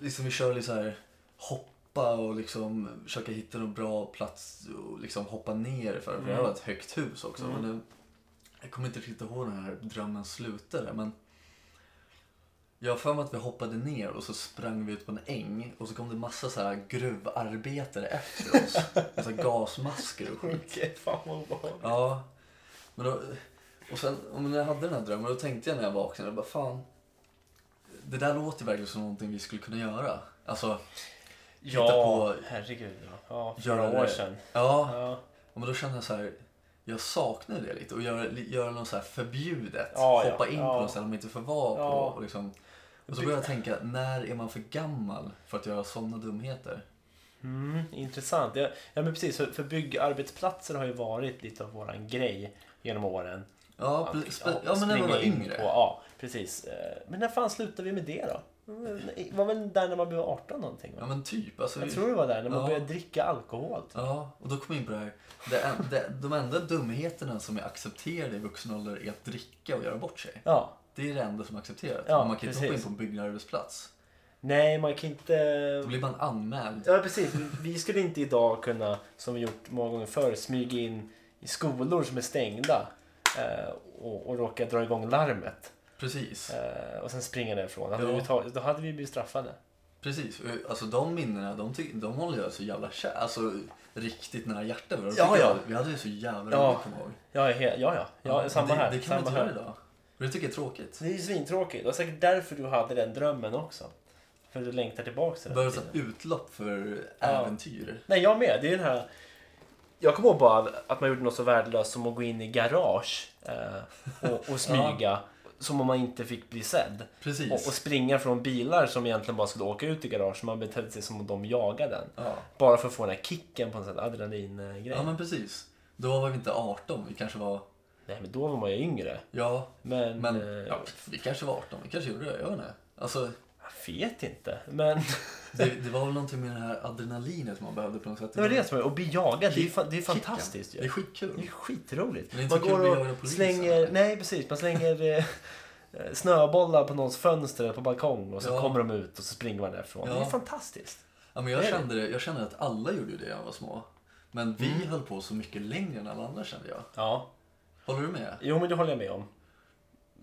[SPEAKER 2] liksom vi kör lite så här hoppa och liksom försöka hitta någon bra plats och liksom hoppa ner för, för det här var ett högt hus också. Men det, jag kommer inte riktigt ihåg när den här drömmen slutade men jag har för mig att vi hoppade ner och så sprang vi ut på en äng och så kom det massa så här gruvarbetare efter oss. Med så här gasmasker och skit.
[SPEAKER 1] Okej, fan vad obehagligt.
[SPEAKER 2] Ja. Men då, och sen, och när jag hade den här drömmen, då tänkte jag när jag vaknade, bara fan. Det där låter verkligen som någonting vi skulle kunna göra. Alltså,
[SPEAKER 1] Ja,
[SPEAKER 2] på-
[SPEAKER 1] herregud. Ja, ja
[SPEAKER 2] göra
[SPEAKER 1] fyra år
[SPEAKER 2] det-
[SPEAKER 1] sedan.
[SPEAKER 2] Ja,
[SPEAKER 1] Ja,
[SPEAKER 2] och men då kände jag så här, jag saknar det lite. Och göra, göra något så här förbjudet.
[SPEAKER 1] Ja, ja,
[SPEAKER 2] Hoppa in
[SPEAKER 1] ja.
[SPEAKER 2] på något ställe man inte får vara på.
[SPEAKER 1] Ja.
[SPEAKER 2] Och, liksom. och så började jag tänka, när är man för gammal för att göra sådana dumheter?
[SPEAKER 1] mm, intressant. Ja, ja, men precis. För, för byggarbetsplatser har ju varit lite av våran grej genom åren.
[SPEAKER 2] Ja,
[SPEAKER 1] Att,
[SPEAKER 2] pre- spe- ja men när man
[SPEAKER 1] typ, springa
[SPEAKER 2] var
[SPEAKER 1] in
[SPEAKER 2] yngre.
[SPEAKER 1] På, ja, precis. Eh, Men när fan slutade vi med det då? Det var väl där när man blev 18 någonting?
[SPEAKER 2] Ja
[SPEAKER 1] Va?
[SPEAKER 2] men typ. Alltså,
[SPEAKER 1] Jag tror det var där när man
[SPEAKER 2] Ja.
[SPEAKER 1] började dricka alkohol. typ.
[SPEAKER 2] Ja, och då kom jag in på det här. Det, en- det, de enda dumheterna som är accepterade i vuxen ålder är att dricka och göra bort sig.
[SPEAKER 1] Ja.
[SPEAKER 2] Det är det enda som är accepterat.
[SPEAKER 1] Ja,
[SPEAKER 2] man kan inte hoppa in
[SPEAKER 1] precis.
[SPEAKER 2] på en byggarbetsplats.
[SPEAKER 1] Nej, man kan inte...
[SPEAKER 2] Då blir man anmäld.
[SPEAKER 1] Ja, precis. Vi skulle inte idag kunna, som vi gjort många gånger förr, smyga in i skolor som är stängda eh, och, och råka dra igång larmet.
[SPEAKER 2] Precis.
[SPEAKER 1] Eh, och sen springa därifrån. Hade
[SPEAKER 2] Ja.
[SPEAKER 1] vi tagit, då hade vi blivit straffade.
[SPEAKER 2] Precis. Alltså de minnena, de, ty- de håller jag så jävla kär. Alltså riktigt nära hjärtat. Och då
[SPEAKER 1] Ja,
[SPEAKER 2] tycker
[SPEAKER 1] ja.
[SPEAKER 2] jag- Vi hade ju så jävla
[SPEAKER 1] Ja.
[SPEAKER 2] roligt, kommer jag ihåg.
[SPEAKER 1] Ja, he- ja, ja. ja, samma
[SPEAKER 2] det,
[SPEAKER 1] här.
[SPEAKER 2] Det kan
[SPEAKER 1] samma
[SPEAKER 2] man inte
[SPEAKER 1] här.
[SPEAKER 2] göra idag. Och det tycker jag är tråkigt.
[SPEAKER 1] Det är ju svintråkigt. Det var säkert därför du hade den drömmen också. För du längtar tillbaka till
[SPEAKER 2] Bara
[SPEAKER 1] den
[SPEAKER 2] ett sånt
[SPEAKER 1] tiden.
[SPEAKER 2] utlopp för
[SPEAKER 1] Ja.
[SPEAKER 2] äventyr.
[SPEAKER 1] Nej, jag med. Det är den här... Jag kommer ihåg bara att man gjorde något så värdelöst som att gå in i garage eh, och, och smyga. som om man inte fick bli sedd.
[SPEAKER 2] Precis.
[SPEAKER 1] Och, och springa från bilar som egentligen bara skulle åka ut i garaget. Man betedde sig som om de jagade den.
[SPEAKER 2] Ja.
[SPEAKER 1] Bara för att få den här kicken på en sån här adrenalingrej.
[SPEAKER 2] ja, men precis. Då var vi inte 18, vi kanske var...
[SPEAKER 1] Nej men då var man ju yngre.
[SPEAKER 2] Ja,
[SPEAKER 1] Men,
[SPEAKER 2] men
[SPEAKER 1] eh,
[SPEAKER 2] ja, vi kanske var 18, vi kanske gjorde det, jag vet inte. Alltså,
[SPEAKER 1] jag vet inte. Men
[SPEAKER 2] det, det var väl någonting med det här adrenalinet man behövde på något sätt.
[SPEAKER 1] det var det som var Och bli jagad, det är, ju fan- det är
[SPEAKER 2] Kicken.
[SPEAKER 1] fantastiskt ju.
[SPEAKER 2] Det
[SPEAKER 1] Det
[SPEAKER 2] är
[SPEAKER 1] är
[SPEAKER 2] skitkul.
[SPEAKER 1] skitroligt.
[SPEAKER 2] Men det är inte
[SPEAKER 1] Man
[SPEAKER 2] så kul
[SPEAKER 1] går
[SPEAKER 2] att jaga
[SPEAKER 1] och
[SPEAKER 2] polisen,
[SPEAKER 1] slänger,
[SPEAKER 2] eller?
[SPEAKER 1] nej precis, man slänger eh, snöbollar på någons fönster eller på balkong och så
[SPEAKER 2] Ja.
[SPEAKER 1] kommer de ut och så springer man därifrån.
[SPEAKER 2] Ja.
[SPEAKER 1] Det är fantastiskt.
[SPEAKER 2] Ja, men jag,
[SPEAKER 1] Det är det.
[SPEAKER 2] kände det, jag kände att alla gjorde ju det när jag var små. Men vi
[SPEAKER 1] Mm.
[SPEAKER 2] höll på så mycket längre än alla andra kände jag.
[SPEAKER 1] Ja.
[SPEAKER 2] Håller du med?
[SPEAKER 1] Jo men det håller jag med om.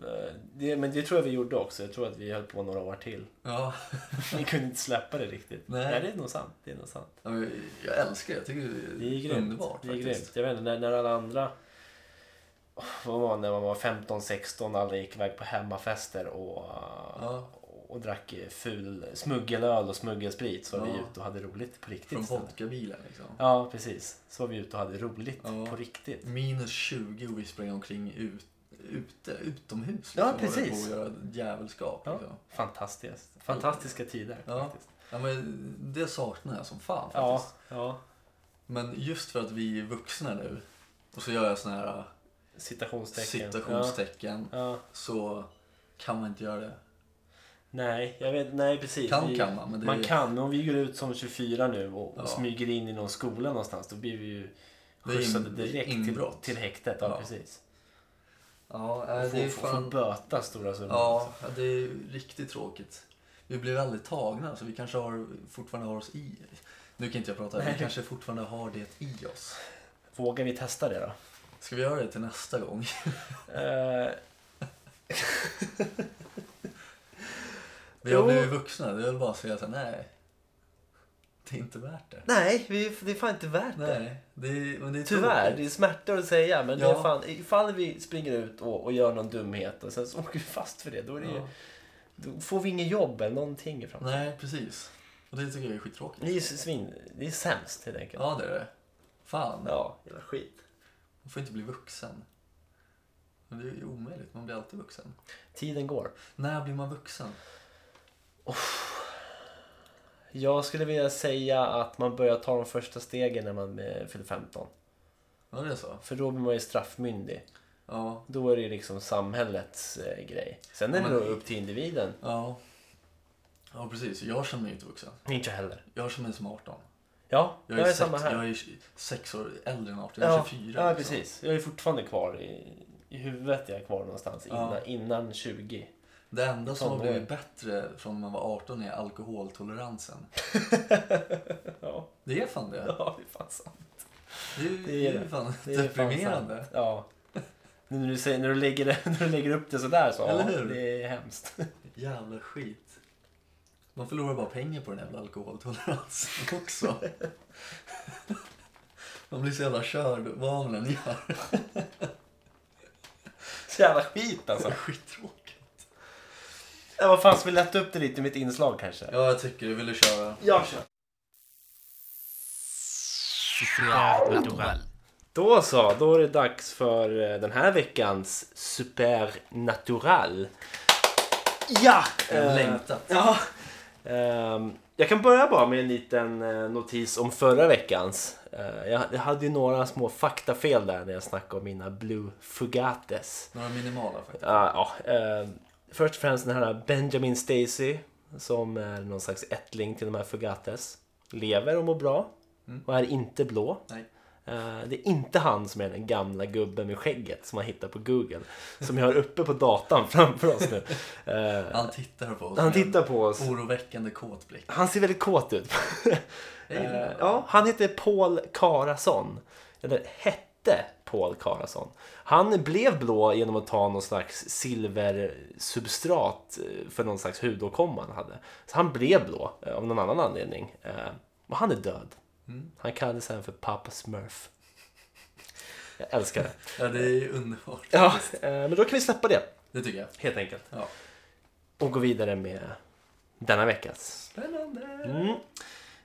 [SPEAKER 1] Eh, Det, men det tror jag vi gjorde också. Jag tror att vi höll på några år till.
[SPEAKER 2] Ja.
[SPEAKER 1] Vi kunde inte släppa det riktigt.
[SPEAKER 2] Nej.
[SPEAKER 1] det är nog sant. Det är nog sant.
[SPEAKER 2] ja men jag älskar det. Jag tycker
[SPEAKER 1] Det är
[SPEAKER 2] det är
[SPEAKER 1] grymt.
[SPEAKER 2] underbart
[SPEAKER 1] det är
[SPEAKER 2] faktiskt.
[SPEAKER 1] grymt. Jag vet inte, när, när alla andra... Åh, Vad var det när man var 15-16 alla gick iväg på hemmafester och,
[SPEAKER 2] Ja.
[SPEAKER 1] och drack ful smuggelöl och smuggelsprit så var vi
[SPEAKER 2] Ja.
[SPEAKER 1] ute och hade roligt på riktigt.
[SPEAKER 2] Från
[SPEAKER 1] istället.
[SPEAKER 2] vodkabilen liksom.
[SPEAKER 1] Ja, precis. Så var vi ute och hade roligt
[SPEAKER 2] Ja.
[SPEAKER 1] på riktigt.
[SPEAKER 2] Minus 20 och vi sprang omkring ut, ute, utomhus. Liksom,
[SPEAKER 1] Ja,
[SPEAKER 2] och höll
[SPEAKER 1] precis.
[SPEAKER 2] På att göra djävulskap.
[SPEAKER 1] Ja.
[SPEAKER 2] Liksom.
[SPEAKER 1] Fantastiskt. Fantastiska tider
[SPEAKER 2] Ja.
[SPEAKER 1] faktiskt.
[SPEAKER 2] Ja, men det saknar jag som fan
[SPEAKER 1] Ja,
[SPEAKER 2] faktiskt.
[SPEAKER 1] ja.
[SPEAKER 2] Men just för att vi är vuxna nu och så gör jag såna här äh,
[SPEAKER 1] Citationstecken.
[SPEAKER 2] citationstecken
[SPEAKER 1] Ja. Ja.
[SPEAKER 2] så kan man inte göra det.
[SPEAKER 1] Nej, jag vet, nej precis.
[SPEAKER 2] Kan, kan man, men det
[SPEAKER 1] man
[SPEAKER 2] är-
[SPEAKER 1] kan, men om vi går ut som 24 nu och,
[SPEAKER 2] Ja.
[SPEAKER 1] och smyger in i någon skola någonstans då blir vi ju
[SPEAKER 2] Det är
[SPEAKER 1] skjutsade
[SPEAKER 2] in-
[SPEAKER 1] direkt till,
[SPEAKER 2] inbrott.
[SPEAKER 1] till häktet. Ja,
[SPEAKER 2] Ja.
[SPEAKER 1] precis.
[SPEAKER 2] Ja,
[SPEAKER 1] Och
[SPEAKER 2] nej, det
[SPEAKER 1] får,
[SPEAKER 2] är
[SPEAKER 1] får, får
[SPEAKER 2] fan...
[SPEAKER 1] böta stora summor.
[SPEAKER 2] Ja,
[SPEAKER 1] liksom.
[SPEAKER 2] ja, det är riktigt tråkigt. Vi blev aldrig tagna, så vi kanske har, fortfarande har oss i... Nu kan inte jag prata, vi kanske fortfarande har det i oss.
[SPEAKER 1] Vågar vi testa det då?
[SPEAKER 2] Ska vi göra det till nästa gång?
[SPEAKER 1] Eh,
[SPEAKER 2] Vi har
[SPEAKER 1] Jo.
[SPEAKER 2] blivit vuxna, det är väl bara att säga så här, nej. Det är inte värt det.
[SPEAKER 1] nej, vi, det är fan inte värt det.
[SPEAKER 2] Nej, det är, men det är
[SPEAKER 1] Tyvärr, det
[SPEAKER 2] tråkigt.
[SPEAKER 1] är smärta att säga men det är
[SPEAKER 2] Ja.
[SPEAKER 1] fan, ifall vi springer ut och, och gör någon dumhet och sen så åker vi fast för det, då, är det ju,
[SPEAKER 2] Ja.
[SPEAKER 1] då får vi ingen jobb eller någonting i framtiden.
[SPEAKER 2] Nej, precis. Och det tycker jag är skittråkigt.
[SPEAKER 1] Det är ju svin, det är sämst helt enkelt.
[SPEAKER 2] Ja, det är det. Fan,
[SPEAKER 1] Ja, jävla skit.
[SPEAKER 2] man får inte bli vuxen. Men det är ju omöjligt, man blir alltid vuxen.
[SPEAKER 1] Tiden går.
[SPEAKER 2] När blir man vuxen?
[SPEAKER 1] Jag skulle vilja säga att man börjar ta de första stegen när man eh, fyller 15.
[SPEAKER 2] Ja, det är så.
[SPEAKER 1] För då blir man ju straffmyndig.
[SPEAKER 2] Ja,
[SPEAKER 1] Då är det ju liksom samhällets eh, grej. Sen är
[SPEAKER 2] Ja,
[SPEAKER 1] det
[SPEAKER 2] men-
[SPEAKER 1] då upp till individen.
[SPEAKER 2] ja. Ja, precis. Jag känner mig inte vuxen.
[SPEAKER 1] Inte jag heller.
[SPEAKER 2] Jag känner mig som 18.
[SPEAKER 1] Ja, jag,
[SPEAKER 2] Jag är,
[SPEAKER 1] är
[SPEAKER 2] sex,
[SPEAKER 1] samma här.
[SPEAKER 2] jag är tj- sex år äldre än 18, jag är 24.
[SPEAKER 1] ja,
[SPEAKER 2] liksom.
[SPEAKER 1] precis. Jag är fortfarande kvar i, i huvudet. Jag är kvar någonstans
[SPEAKER 2] Ja.
[SPEAKER 1] innan, innan 20.
[SPEAKER 2] Det enda som har
[SPEAKER 1] Tonåring.
[SPEAKER 2] blivit bättre från när man var 18 är alkoholtoleransen.
[SPEAKER 1] Ja,
[SPEAKER 2] Det är fan det.
[SPEAKER 1] ja det är fan sant.
[SPEAKER 2] Det är,
[SPEAKER 1] Det är
[SPEAKER 2] det är
[SPEAKER 1] det.
[SPEAKER 2] ju fan
[SPEAKER 1] Det är fan
[SPEAKER 2] deprimerande.
[SPEAKER 1] sant. Ja. Nu när du, säger, när, du lägger, det- när du lägger upp det sådär så,
[SPEAKER 2] Eller
[SPEAKER 1] ja,
[SPEAKER 2] hur?
[SPEAKER 1] det är hemskt.
[SPEAKER 2] Jävla skit. Man förlorar bara pengar på den jävla alkoholtoleransen också. Man blir så jävla körd vad man än gör.
[SPEAKER 1] Så jävla skit alltså.
[SPEAKER 2] Det är skittråkigt.
[SPEAKER 1] Ja, vad fan, ska vi lätta upp det lite i mitt inslag kanske?
[SPEAKER 2] Ja, jag tycker du ville köra.
[SPEAKER 1] Jag kör. Då så, då är det dags för eh, den här veckans Supernatural. Ja!
[SPEAKER 2] Jag har
[SPEAKER 1] eh,
[SPEAKER 2] längtat.
[SPEAKER 1] Ja. Ehm, jag kan börja bara med en liten eh, notis om förra veckans. Eh, jag, jag hade ju några små faktafel där när jag snackade om mina Blue Fugates.
[SPEAKER 2] Några minimala faktiskt.
[SPEAKER 1] Ja, ja. Eh, först och främst den här Benjamin Stacy som är någon slags ättling till de här Fugates. Lever och mår bra och är inte blå.
[SPEAKER 2] Nej.
[SPEAKER 1] Eh, det är inte han som är den gamla gubben med skägget som man hittar på Google. Som jag har uppe på datan framför oss nu. Eh,
[SPEAKER 2] Han tittar på oss
[SPEAKER 1] han
[SPEAKER 2] med en
[SPEAKER 1] tittar på oss.
[SPEAKER 2] Oroväckande kåt blick.
[SPEAKER 1] Han ser väldigt kåt ut.
[SPEAKER 2] Jag gillar
[SPEAKER 1] Eh,
[SPEAKER 2] det.
[SPEAKER 1] ja, han heter Paul Karason. Eller hette Paul Karason. Han blev blå genom att ta någon slags silversubstrat eh, för någon slags hudåkomma han hade. Så han blev blå eh, av någon annan anledning. Eh, Och han är död.
[SPEAKER 2] Mm.
[SPEAKER 1] Han kallades sen för Papa Smurf. Jag älskar det.
[SPEAKER 2] Ja, det är underbart.
[SPEAKER 1] Ja, eh, men då kan vi släppa det
[SPEAKER 2] Det tycker jag.
[SPEAKER 1] helt enkelt.
[SPEAKER 2] Ja.
[SPEAKER 1] Och gå vidare med denna veckas
[SPEAKER 2] Spännande.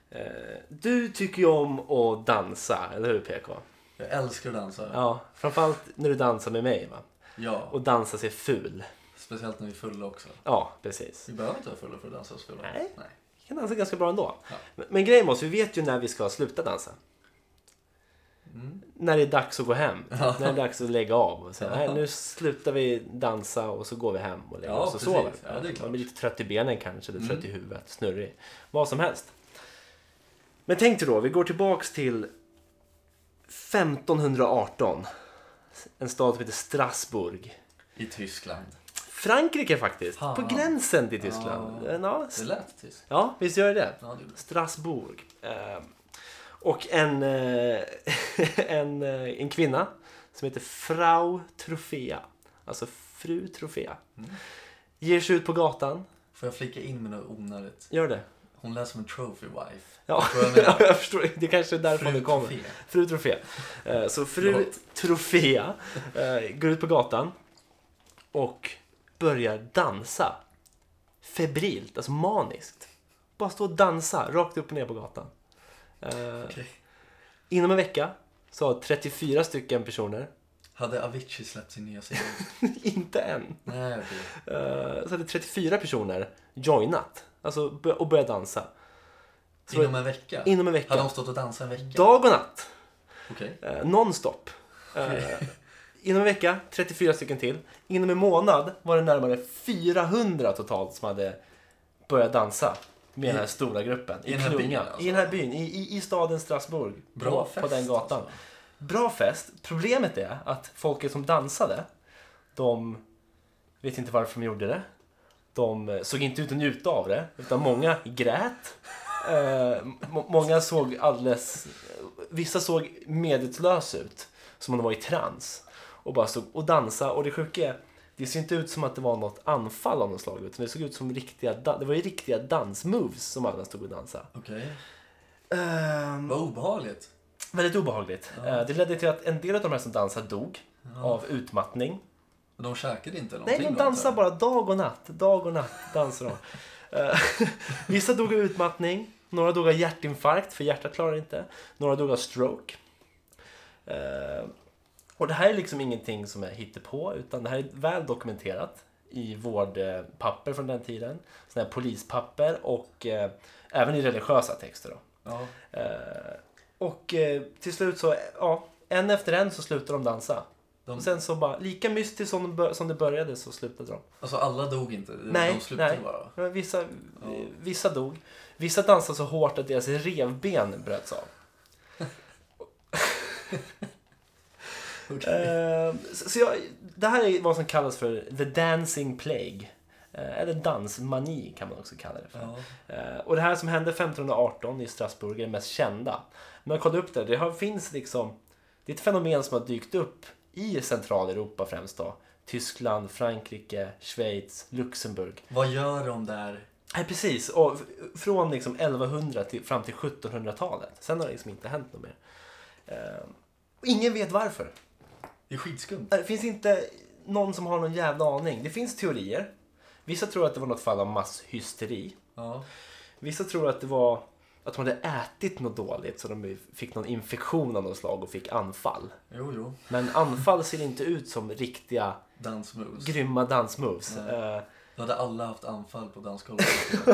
[SPEAKER 1] Eh, Du tycker ju om att dansa, eller hur PK?
[SPEAKER 2] Jag älskar att dansa.
[SPEAKER 1] Ja, framförallt när du dansar med mig va?
[SPEAKER 2] Ja.
[SPEAKER 1] Och dansar sig ful.
[SPEAKER 2] Speciellt när vi är fulla också.
[SPEAKER 1] Ja, precis.
[SPEAKER 2] Vi behöver inte vara fulla för att dansa oss fulla.
[SPEAKER 1] Nej.
[SPEAKER 2] Nej.
[SPEAKER 1] Vi kan dansa ganska bra ändå.
[SPEAKER 2] Ja.
[SPEAKER 1] Men, men grejen var så, vi vet ju när vi ska sluta dansa.
[SPEAKER 2] Mm.
[SPEAKER 1] När det är dags att gå hem. När det är dags att lägga av. Och säga, nej, nu slutar vi dansa och så går vi hem och lägger
[SPEAKER 2] Ja,
[SPEAKER 1] oss och
[SPEAKER 2] precis.
[SPEAKER 1] sover.
[SPEAKER 2] Ja, det är klart. Mm.
[SPEAKER 1] Man blir lite trött i benen kanske, eller trött i huvudet, snurrig. Vad som helst. Men tänk dig då, vi går tillbaks till 1518. En stad som heter Strasbourg.
[SPEAKER 2] I Tyskland.
[SPEAKER 1] Frankrike faktiskt,
[SPEAKER 2] Fan.
[SPEAKER 1] på gränsen till Tyskland. Ja,
[SPEAKER 2] Det lät tyskt.
[SPEAKER 1] ja visst gör det det
[SPEAKER 2] Ja, det gjorde det.
[SPEAKER 1] Strasbourg. Eh, och en, eh, en, eh, en kvinna som heter Frau Trofea, alltså fru Trofea,
[SPEAKER 2] Mm.
[SPEAKER 1] ger sig ut på gatan.
[SPEAKER 2] Får jag flika in med något onödigt?
[SPEAKER 1] Gör det.
[SPEAKER 2] Hon lät som en trophy wife.
[SPEAKER 1] Ja,
[SPEAKER 2] Förstår du vad jag
[SPEAKER 1] jag,
[SPEAKER 2] menar?
[SPEAKER 1] förstår. Det kanske är därifrån
[SPEAKER 2] Fru
[SPEAKER 1] det kommer.
[SPEAKER 2] Trofea.
[SPEAKER 1] Fru Trofea. Eh, Så fru
[SPEAKER 2] Förlåt.
[SPEAKER 1] Trofea eh, går ut på gatan och börjar dansa. Febrilt, alltså maniskt. Bara stå och dansa rakt upp och ner på gatan. Eh,
[SPEAKER 2] Okej.
[SPEAKER 1] Inom en vecka så har 34 stycken personer,
[SPEAKER 2] Hade Avicii släppt sin nya singel?
[SPEAKER 1] inte än,
[SPEAKER 2] Nej, okej.
[SPEAKER 1] eh, så hade 34 personer joinat alltså, bör- och börjat dansa. Så
[SPEAKER 2] Inom en vecka?
[SPEAKER 1] inom en vecka.
[SPEAKER 2] Hade de stått och dansat en vecka?
[SPEAKER 1] Dag och natt.
[SPEAKER 2] Okej.
[SPEAKER 1] Eh, nonstop. Eh, inom en vecka 34 stycken till. Inom en månad var det närmare 400 totalt som hade börjat dansa med den här stora gruppen. I,
[SPEAKER 2] i den här
[SPEAKER 1] klunga.
[SPEAKER 2] byn alltså?
[SPEAKER 1] I den här byn, i, i, i staden Strasbourg.
[SPEAKER 2] Bra
[SPEAKER 1] på,
[SPEAKER 2] fest,
[SPEAKER 1] på den gatan.
[SPEAKER 2] alltså.
[SPEAKER 1] Bra fest. Problemet är att folket som dansade, de vet inte varför de gjorde det. De eh, såg inte ut att njuta av det, utan många grät. Eh, må- många såg alldeles... Vissa såg medvetslös ut, som om de var i trans. Och bara stod och dansade. Och det sjuka är, det ser inte ut som att det var något anfall av något slag. Utan det såg ut som riktiga, da- det var ju riktiga dansmoves som alla stod och dansade.
[SPEAKER 2] Okej.
[SPEAKER 1] Ehm,
[SPEAKER 2] Vad obehagligt.
[SPEAKER 1] väldigt obehagligt. Eh, det ledde till att en del av de här som dansade dog. Av utmattning. Typ.
[SPEAKER 2] Men De käkade inte någonting?
[SPEAKER 1] Nej, de
[SPEAKER 2] då,
[SPEAKER 1] dansar
[SPEAKER 2] antar jag?
[SPEAKER 1] bara dag och natt. Dag och natt dansar de. Eh, Vissa dog av utmattning. Några dog av hjärtinfarkt, för hjärtat klarar inte. Några dog av stroke. Eh, Och det här är liksom ingenting som jag hittar på utan det här är väl dokumenterat i vårdpapper från den tiden. Såna här polispapper och eh, även i religiösa texter. Då.
[SPEAKER 2] Ja.
[SPEAKER 1] Eh, Och eh, till slut så, eh, ja, en efter en så slutar de dansa.
[SPEAKER 2] De-
[SPEAKER 1] Och sen så bara, lika mystiskt som, de bör- som det började så slutade de.
[SPEAKER 2] Alltså alla dog inte? De-
[SPEAKER 1] nej,
[SPEAKER 2] De slutade
[SPEAKER 1] nej.
[SPEAKER 2] bara?
[SPEAKER 1] Men Vissa, eh, vissa dog. Vissa dansade så hårt att deras revben bröts av.
[SPEAKER 2] Okej.
[SPEAKER 1] Eh, så så jag, det här är vad som kallas för the dancing plague. Eh, Eller dansmani kan man också kalla det för.
[SPEAKER 2] Ja.
[SPEAKER 1] Eh, Och det här som hände 1518 i Strasbourg är det mest kända. Men jag kollade upp det, det har, finns liksom... Det är ett fenomen som har dykt upp i Centraleuropa främst då. Tyskland, Frankrike, Schweiz, Luxemburg.
[SPEAKER 2] Vad gör de där?
[SPEAKER 1] Nej precis, och f- från liksom 1100 till, fram till 1700-talet. Sen har det liksom inte hänt något mer. Eh, och ingen vet varför.
[SPEAKER 2] Det är skitskumt.
[SPEAKER 1] Det Äh, finns inte någon som har någon jävla aning. Det finns teorier. Vissa tror att det var något fall av masshysteri.
[SPEAKER 2] Ja.
[SPEAKER 1] Vissa tror att det var att de hade ätit något dåligt så de fick någon infektion av något slag och fick anfall.
[SPEAKER 2] Jo, jo.
[SPEAKER 1] Men anfall ser inte ut som riktiga
[SPEAKER 2] Dansmoves.
[SPEAKER 1] grymma dansmoves. Eh,
[SPEAKER 2] Då hade alla haft anfall på dansgolvet.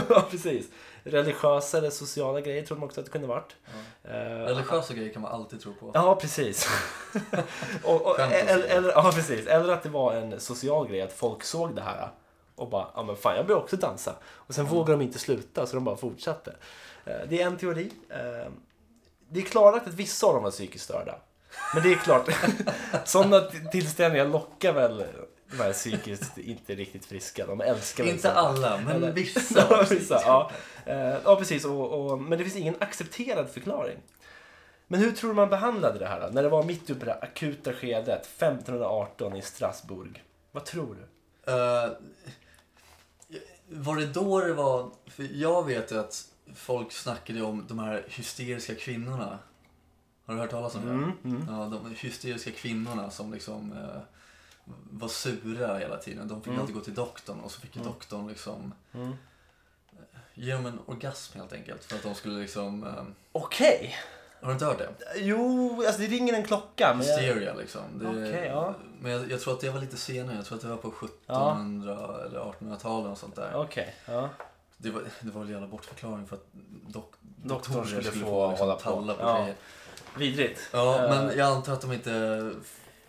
[SPEAKER 1] Ja, precis. Religiösa eller sociala grejer tror de också att det kunde varit. Eh,
[SPEAKER 2] Religiösa grejer kan man alltid tro på.
[SPEAKER 1] Ja, precis. och, och,
[SPEAKER 2] Skämt åsido.
[SPEAKER 1] eller, eller, ja, precis. Eller att det var en social grej, att folk såg det här och bara, ja men fan jag börjar också dansa. Och sen vågade de inte sluta så de bara fortsatte. Eh, Det är en teori. Eh, Det är klarlagt att vissa av dem var psykiskt störda. Men det är klart, sådana t- tillställningar lockar väl de här psykiskt inte riktigt friska. De älskar väl
[SPEAKER 2] Inte
[SPEAKER 1] sånt.
[SPEAKER 2] alla, men
[SPEAKER 1] Eller-
[SPEAKER 2] vissa.
[SPEAKER 1] Ja, precis. Ja, Eh, ja precis. Och, och, men det finns ingen accepterad förklaring. Men hur tror du man behandlade det här då? När det var mitt uppe i det här akuta skedet 1518 i Strasbourg. Vad tror du?
[SPEAKER 2] Eh, var det då det var... För jag vet ju att folk snackade om de här hysteriska kvinnorna. Har du hört talas om det?
[SPEAKER 1] Mm,
[SPEAKER 2] Ja, de hysteriska kvinnorna som liksom eh, var sura hela tiden. De fick
[SPEAKER 1] Mm.
[SPEAKER 2] alltid gå till doktorn och så fick ju doktorn liksom ge dem en orgasm helt enkelt. För att de skulle liksom... eh,
[SPEAKER 1] Okej!
[SPEAKER 2] Har du inte hört det?
[SPEAKER 1] Jo, alltså det ringer en klocka. men jag-
[SPEAKER 2] Hysteria liksom. Det,
[SPEAKER 1] Okej, ja.
[SPEAKER 2] Men jag, jag tror att det var lite senare. Jag tror att det var på 1700 eller 1800-talet och sånt där.
[SPEAKER 1] Okej, ja.
[SPEAKER 2] Det var, det var väl en jävla bortförklaring för att dok-
[SPEAKER 1] Doktorn
[SPEAKER 2] doktorer
[SPEAKER 1] skulle få hålla på.
[SPEAKER 2] liksom talla på
[SPEAKER 1] Ja.
[SPEAKER 2] grejer.
[SPEAKER 1] Vidrigt.
[SPEAKER 2] Ja,
[SPEAKER 1] Eh,
[SPEAKER 2] men jag antar att de inte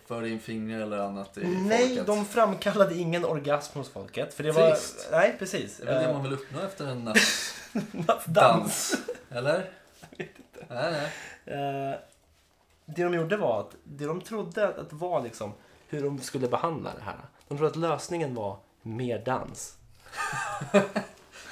[SPEAKER 2] för in fingrar eller annat i
[SPEAKER 1] Nej,
[SPEAKER 2] folket.
[SPEAKER 1] de framkallade ingen orgasm hos folket. För det var...
[SPEAKER 2] Trist.
[SPEAKER 1] Nej, precis.
[SPEAKER 2] Det är väl det
[SPEAKER 1] Eh,
[SPEAKER 2] man vill uppnå efter en nattdans?
[SPEAKER 1] dans.
[SPEAKER 2] Eller? Nej, nej.
[SPEAKER 1] Eh, det de gjorde var att det de trodde att, att var liksom hur de skulle behandla det här. De trodde att lösningen var mer dans.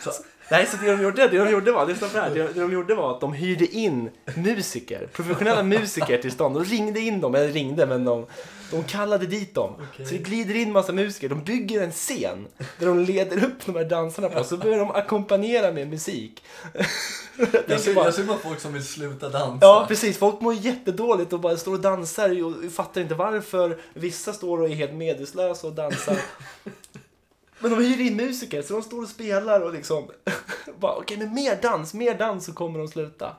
[SPEAKER 1] så, nej, så det de gjorde, det de gjorde var, lyssna på det här, det, det de gjorde var att de hyrde in musiker, professionella musiker till stan. De ringde in dem, eller ringde, men de, de kallade dit dem. Så det glider in massa musiker, de bygger en scen där de leder upp de här dansarna på, så börjar de ackompanjera med musik. Jag
[SPEAKER 2] Jag
[SPEAKER 1] tänker
[SPEAKER 2] ser,
[SPEAKER 1] bara-
[SPEAKER 2] jag ser bara folk som vill sluta dansa.
[SPEAKER 1] Ja precis, folk mår jättedåligt och bara står och dansar och fattar inte varför. Vissa står och är helt medvetslösa och dansar. Men de hyr in musiker så de står och spelar och liksom bara okej men mer dans, mer dans så kommer de sluta.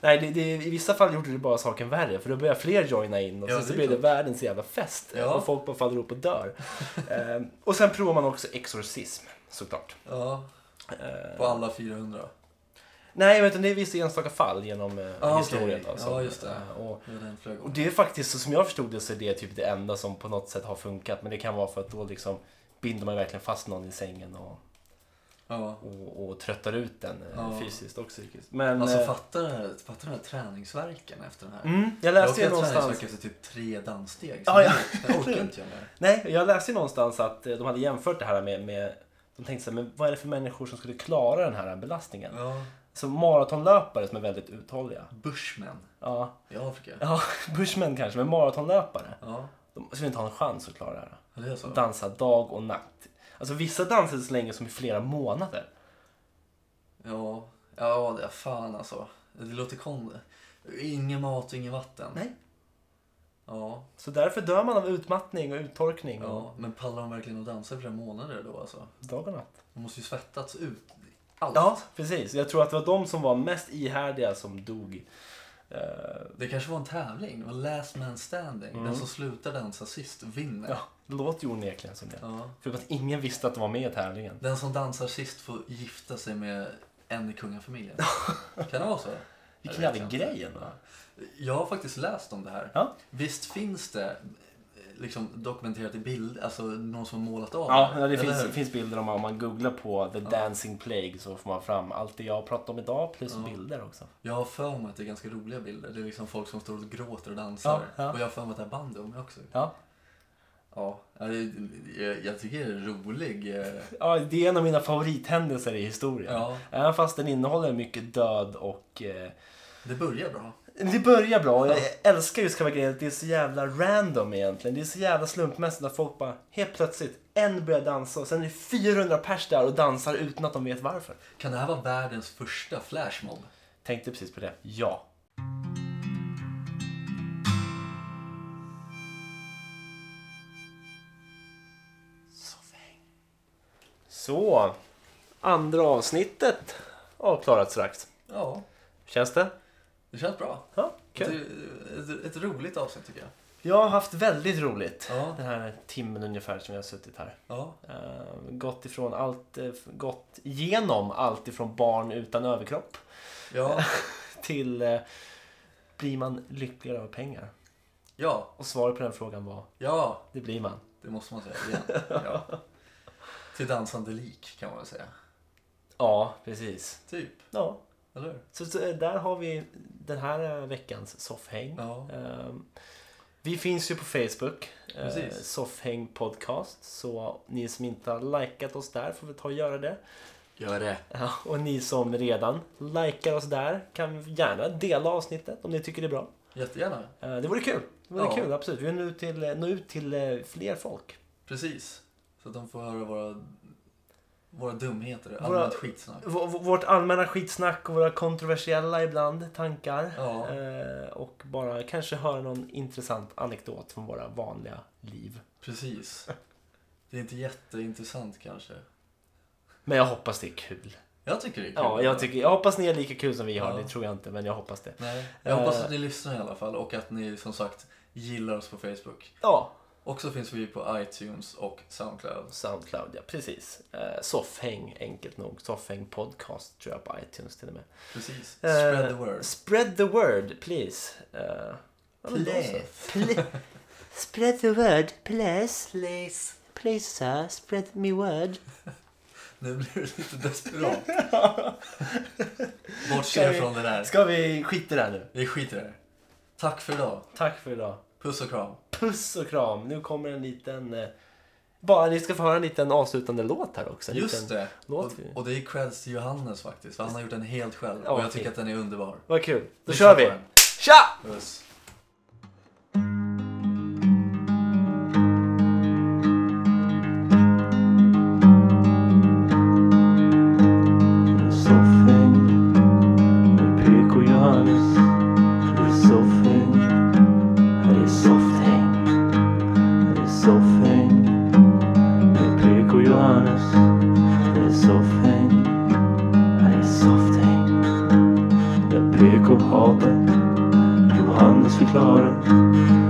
[SPEAKER 1] Nej, det, det, i vissa fall gjorde det bara saken värre för då börjar fler joina in och
[SPEAKER 2] Ja,
[SPEAKER 1] sen
[SPEAKER 2] det
[SPEAKER 1] så
[SPEAKER 2] är
[SPEAKER 1] blir det
[SPEAKER 2] klart.
[SPEAKER 1] världens jävla fest
[SPEAKER 2] Ja.
[SPEAKER 1] och folk bara faller upp och dör. Ehm, och sen provar man också exorcism såklart.
[SPEAKER 2] Ja,
[SPEAKER 1] Ehm,
[SPEAKER 2] på alla 400.
[SPEAKER 1] nej, men utan det är vissa enstaka fall genom eh,
[SPEAKER 2] Ah, okej.
[SPEAKER 1] historien. Då,
[SPEAKER 2] Ja,
[SPEAKER 1] som,
[SPEAKER 2] just det.
[SPEAKER 1] eh, och,
[SPEAKER 2] Det var den flög
[SPEAKER 1] och
[SPEAKER 2] om.
[SPEAKER 1] det är faktiskt, så som jag förstod det, så är det typ det enda som på något sätt har funkat. Men det kan vara för att då liksom binder man verkligen fast någon i sängen och,
[SPEAKER 2] Ja.
[SPEAKER 1] och, och tröttar ut den eh,
[SPEAKER 2] Ja.
[SPEAKER 1] fysiskt och psykiskt. Men,
[SPEAKER 2] Alltså
[SPEAKER 1] eh,
[SPEAKER 2] fattar du den här, fattar den här träningsverken efter den här?
[SPEAKER 1] mm, jag
[SPEAKER 2] Jag
[SPEAKER 1] läste
[SPEAKER 2] åker
[SPEAKER 1] ju
[SPEAKER 2] träningsvärk
[SPEAKER 1] någonstans,
[SPEAKER 2] efter typ tre danssteg.
[SPEAKER 1] Ja, ja.
[SPEAKER 2] Jag, jag orkar inte jag mer.
[SPEAKER 1] nej, jag läste ju någonstans att eh, de hade jämfört det här med, med de tänkte så här, men vad är det för människor som skulle klara den här belastningen?
[SPEAKER 2] Ja,
[SPEAKER 1] Så maratonlöpare som är väldigt uthålliga.
[SPEAKER 2] Bushmen
[SPEAKER 1] Ja,
[SPEAKER 2] i Afrika.
[SPEAKER 1] ja Bushman kanske, men maratonlöpare.
[SPEAKER 2] Ja,
[SPEAKER 1] De skulle inte ha en chans att klara det här.
[SPEAKER 2] det är så.
[SPEAKER 1] Dansa dag och natt. Alltså vissa dansade så länge som i flera månader.
[SPEAKER 2] Ja, ja det är fan alltså. Det låter konstigt. Ingen mat och ingen vatten.
[SPEAKER 1] Nej.
[SPEAKER 2] Ja,
[SPEAKER 1] Så därför dör man av utmattning och uttorkning och
[SPEAKER 2] ja. men pallar de verkligen att dansa i flera månader då alltså?
[SPEAKER 1] dag och natt.
[SPEAKER 2] De måste ju svettats ut. Allt.
[SPEAKER 1] Ja, precis. Jag tror att det var de som var mest ihärdiga som dog. Eh,
[SPEAKER 2] Det kanske var en tävling. Det var last man standing. Den som slutar dansa sist vinner.
[SPEAKER 1] ja, det låter ju onekligen som det.
[SPEAKER 2] Ja.
[SPEAKER 1] För att ingen visste att de var med i tävlingen.
[SPEAKER 2] Den som dansar sist får gifta sig med en i kungafamiljen. kan det vara så?
[SPEAKER 1] Vilken
[SPEAKER 2] Jag vet
[SPEAKER 1] jävla
[SPEAKER 2] inte.
[SPEAKER 1] grej ändå.
[SPEAKER 2] Jag har faktiskt läst om det här.
[SPEAKER 1] Ja.
[SPEAKER 2] Visst finns det eh, liksom dokumenterat i bild, alltså någon som har målat av
[SPEAKER 1] Ja, det
[SPEAKER 2] eller
[SPEAKER 1] finns,
[SPEAKER 2] hur?
[SPEAKER 1] det finns bilder om om man googlar på The Dancing Plague så får man fram allt det jag pratat om idag plus bilder också.
[SPEAKER 2] Jag har för mig att det är ganska roliga bilder. Det är liksom folk som står och gråter och dansar.
[SPEAKER 1] Ja, ja.
[SPEAKER 2] Och jag har för mig att det är band om också.
[SPEAKER 1] Ja.
[SPEAKER 2] Ja, ja, det- jag, jag tycker det är en rolig. eh,
[SPEAKER 1] ja, det är en av mina favorithändelser i historien.
[SPEAKER 2] Ja,
[SPEAKER 1] Även fast den innehåller mycket död och eh,
[SPEAKER 2] det börjar bra.
[SPEAKER 1] Det börjar bra och jag älskar just själva grejen att det är så jävla random egentligen. Det är så jävla slumpmässigt att folk bara helt plötsligt, en börjar dansa och sen är det 400 pers där och dansar utan att de vet varför.
[SPEAKER 2] Kan det här vara världens första flashmob?
[SPEAKER 1] Tänkte precis på det. Ja. Så, andra avsnittet avklarat strax.
[SPEAKER 2] Ja,
[SPEAKER 1] Känns det?
[SPEAKER 2] det känns bra.
[SPEAKER 1] Ja, kul.
[SPEAKER 2] Ett, ett, ett roligt avsnitt tycker jag.
[SPEAKER 1] Jag har haft väldigt roligt
[SPEAKER 2] Ja.
[SPEAKER 1] den här timmen ungefär som jag har suttit här.
[SPEAKER 2] Ja,
[SPEAKER 1] Eh, gått ifrån allt, eh, gått igenom allt ifrån barn utan överkropp
[SPEAKER 2] ja,
[SPEAKER 1] till eh, blir man lyckligare av pengar?
[SPEAKER 2] ja,
[SPEAKER 1] Och svaret på den frågan var
[SPEAKER 2] ja.
[SPEAKER 1] det blir man.
[SPEAKER 2] Det måste man säga igen. Ja. Till dansande lik kan man väl säga.
[SPEAKER 1] Ja, precis.
[SPEAKER 2] Typ,
[SPEAKER 1] Ja,
[SPEAKER 2] eller hur?
[SPEAKER 1] så, så eh, där har vi den här eh, veckans soffhäng.
[SPEAKER 2] Ja.
[SPEAKER 1] Eh, vi finns ju på Facebook, eh,
[SPEAKER 2] Precis.
[SPEAKER 1] Soffhäng Podcast. Så ni som inte har likat oss där får väl ta och göra det.
[SPEAKER 2] Gör det.
[SPEAKER 1] Ja, och ni som redan likar oss där kan gärna dela avsnittet om ni tycker det är bra.
[SPEAKER 2] Jättegärna.
[SPEAKER 1] Eh, Det vore kul. Det vore
[SPEAKER 2] Ja.
[SPEAKER 1] kul, absolut. Vi vill nå ut till, nå ut till eh, fler folk.
[SPEAKER 2] Precis. Så att de får höra våra, våra dumheter.
[SPEAKER 1] Våra-
[SPEAKER 2] Allmänt skitsnack.
[SPEAKER 1] V- v- vårt allmänna skitsnack och våra kontroversiella ibland tankar.
[SPEAKER 2] Ja.
[SPEAKER 1] Eh, Och bara kanske höra någon intressant anekdot från våra vanliga liv.
[SPEAKER 2] Precis. Det är inte jätteintressant kanske.
[SPEAKER 1] Men jag hoppas det är kul.
[SPEAKER 2] Jag tycker det är kul.
[SPEAKER 1] Ja, jag, tycker, jag hoppas ni har lika kul som vi har.
[SPEAKER 2] Ja.
[SPEAKER 1] Det tror jag inte, men jag hoppas det.
[SPEAKER 2] Nej, jag hoppas
[SPEAKER 1] Eh.
[SPEAKER 2] att ni lyssnar i alla fall och att ni som sagt gillar oss på Facebook.
[SPEAKER 1] Ja,
[SPEAKER 2] Och så finns vi på iTunes och Soundcloud.
[SPEAKER 1] Soundcloud, ja precis. Eh, Soffhäng, enkelt nog. Soffhäng podcast tror jag på iTunes till och med.
[SPEAKER 2] Precis.
[SPEAKER 1] Eh,
[SPEAKER 2] Spread the word.
[SPEAKER 1] Spread the word, please. Eh, ja, men då så.
[SPEAKER 2] Please.
[SPEAKER 1] Ple- spread the word, please. Please. Please sir, spread me word.
[SPEAKER 2] Nu blir du lite desperat. Bortse
[SPEAKER 1] vi-
[SPEAKER 2] från det där.
[SPEAKER 1] Ska vi skita i det här nu?
[SPEAKER 2] Vi skiter i det. Tack för idag.
[SPEAKER 1] Tack för idag.
[SPEAKER 2] Puss och kram.
[SPEAKER 1] Puss och kram. Nu kommer en liten... Eh, bara ni ska få höra en liten avslutande låt här också. En
[SPEAKER 2] Just
[SPEAKER 1] liten,
[SPEAKER 2] det. Och,
[SPEAKER 1] låt vi.
[SPEAKER 2] och det är creds till Johannes faktiskt. För han har gjort den helt själv.
[SPEAKER 1] Ja,
[SPEAKER 2] Och jag tycker
[SPEAKER 1] fint.
[SPEAKER 2] att den är underbar.
[SPEAKER 1] Vad kul. Då
[SPEAKER 2] Lyssna
[SPEAKER 1] kör
[SPEAKER 2] på
[SPEAKER 1] vi.
[SPEAKER 2] den.
[SPEAKER 1] Tja!
[SPEAKER 2] Puss.
[SPEAKER 7] Soffhäng med PK Johannes. Här är soffhäng. Här är softhäng. Här är soffhäng med PK Johannes. Här är soffhäng. Här är softhäng. Där PK hatar. Johannes förklarar.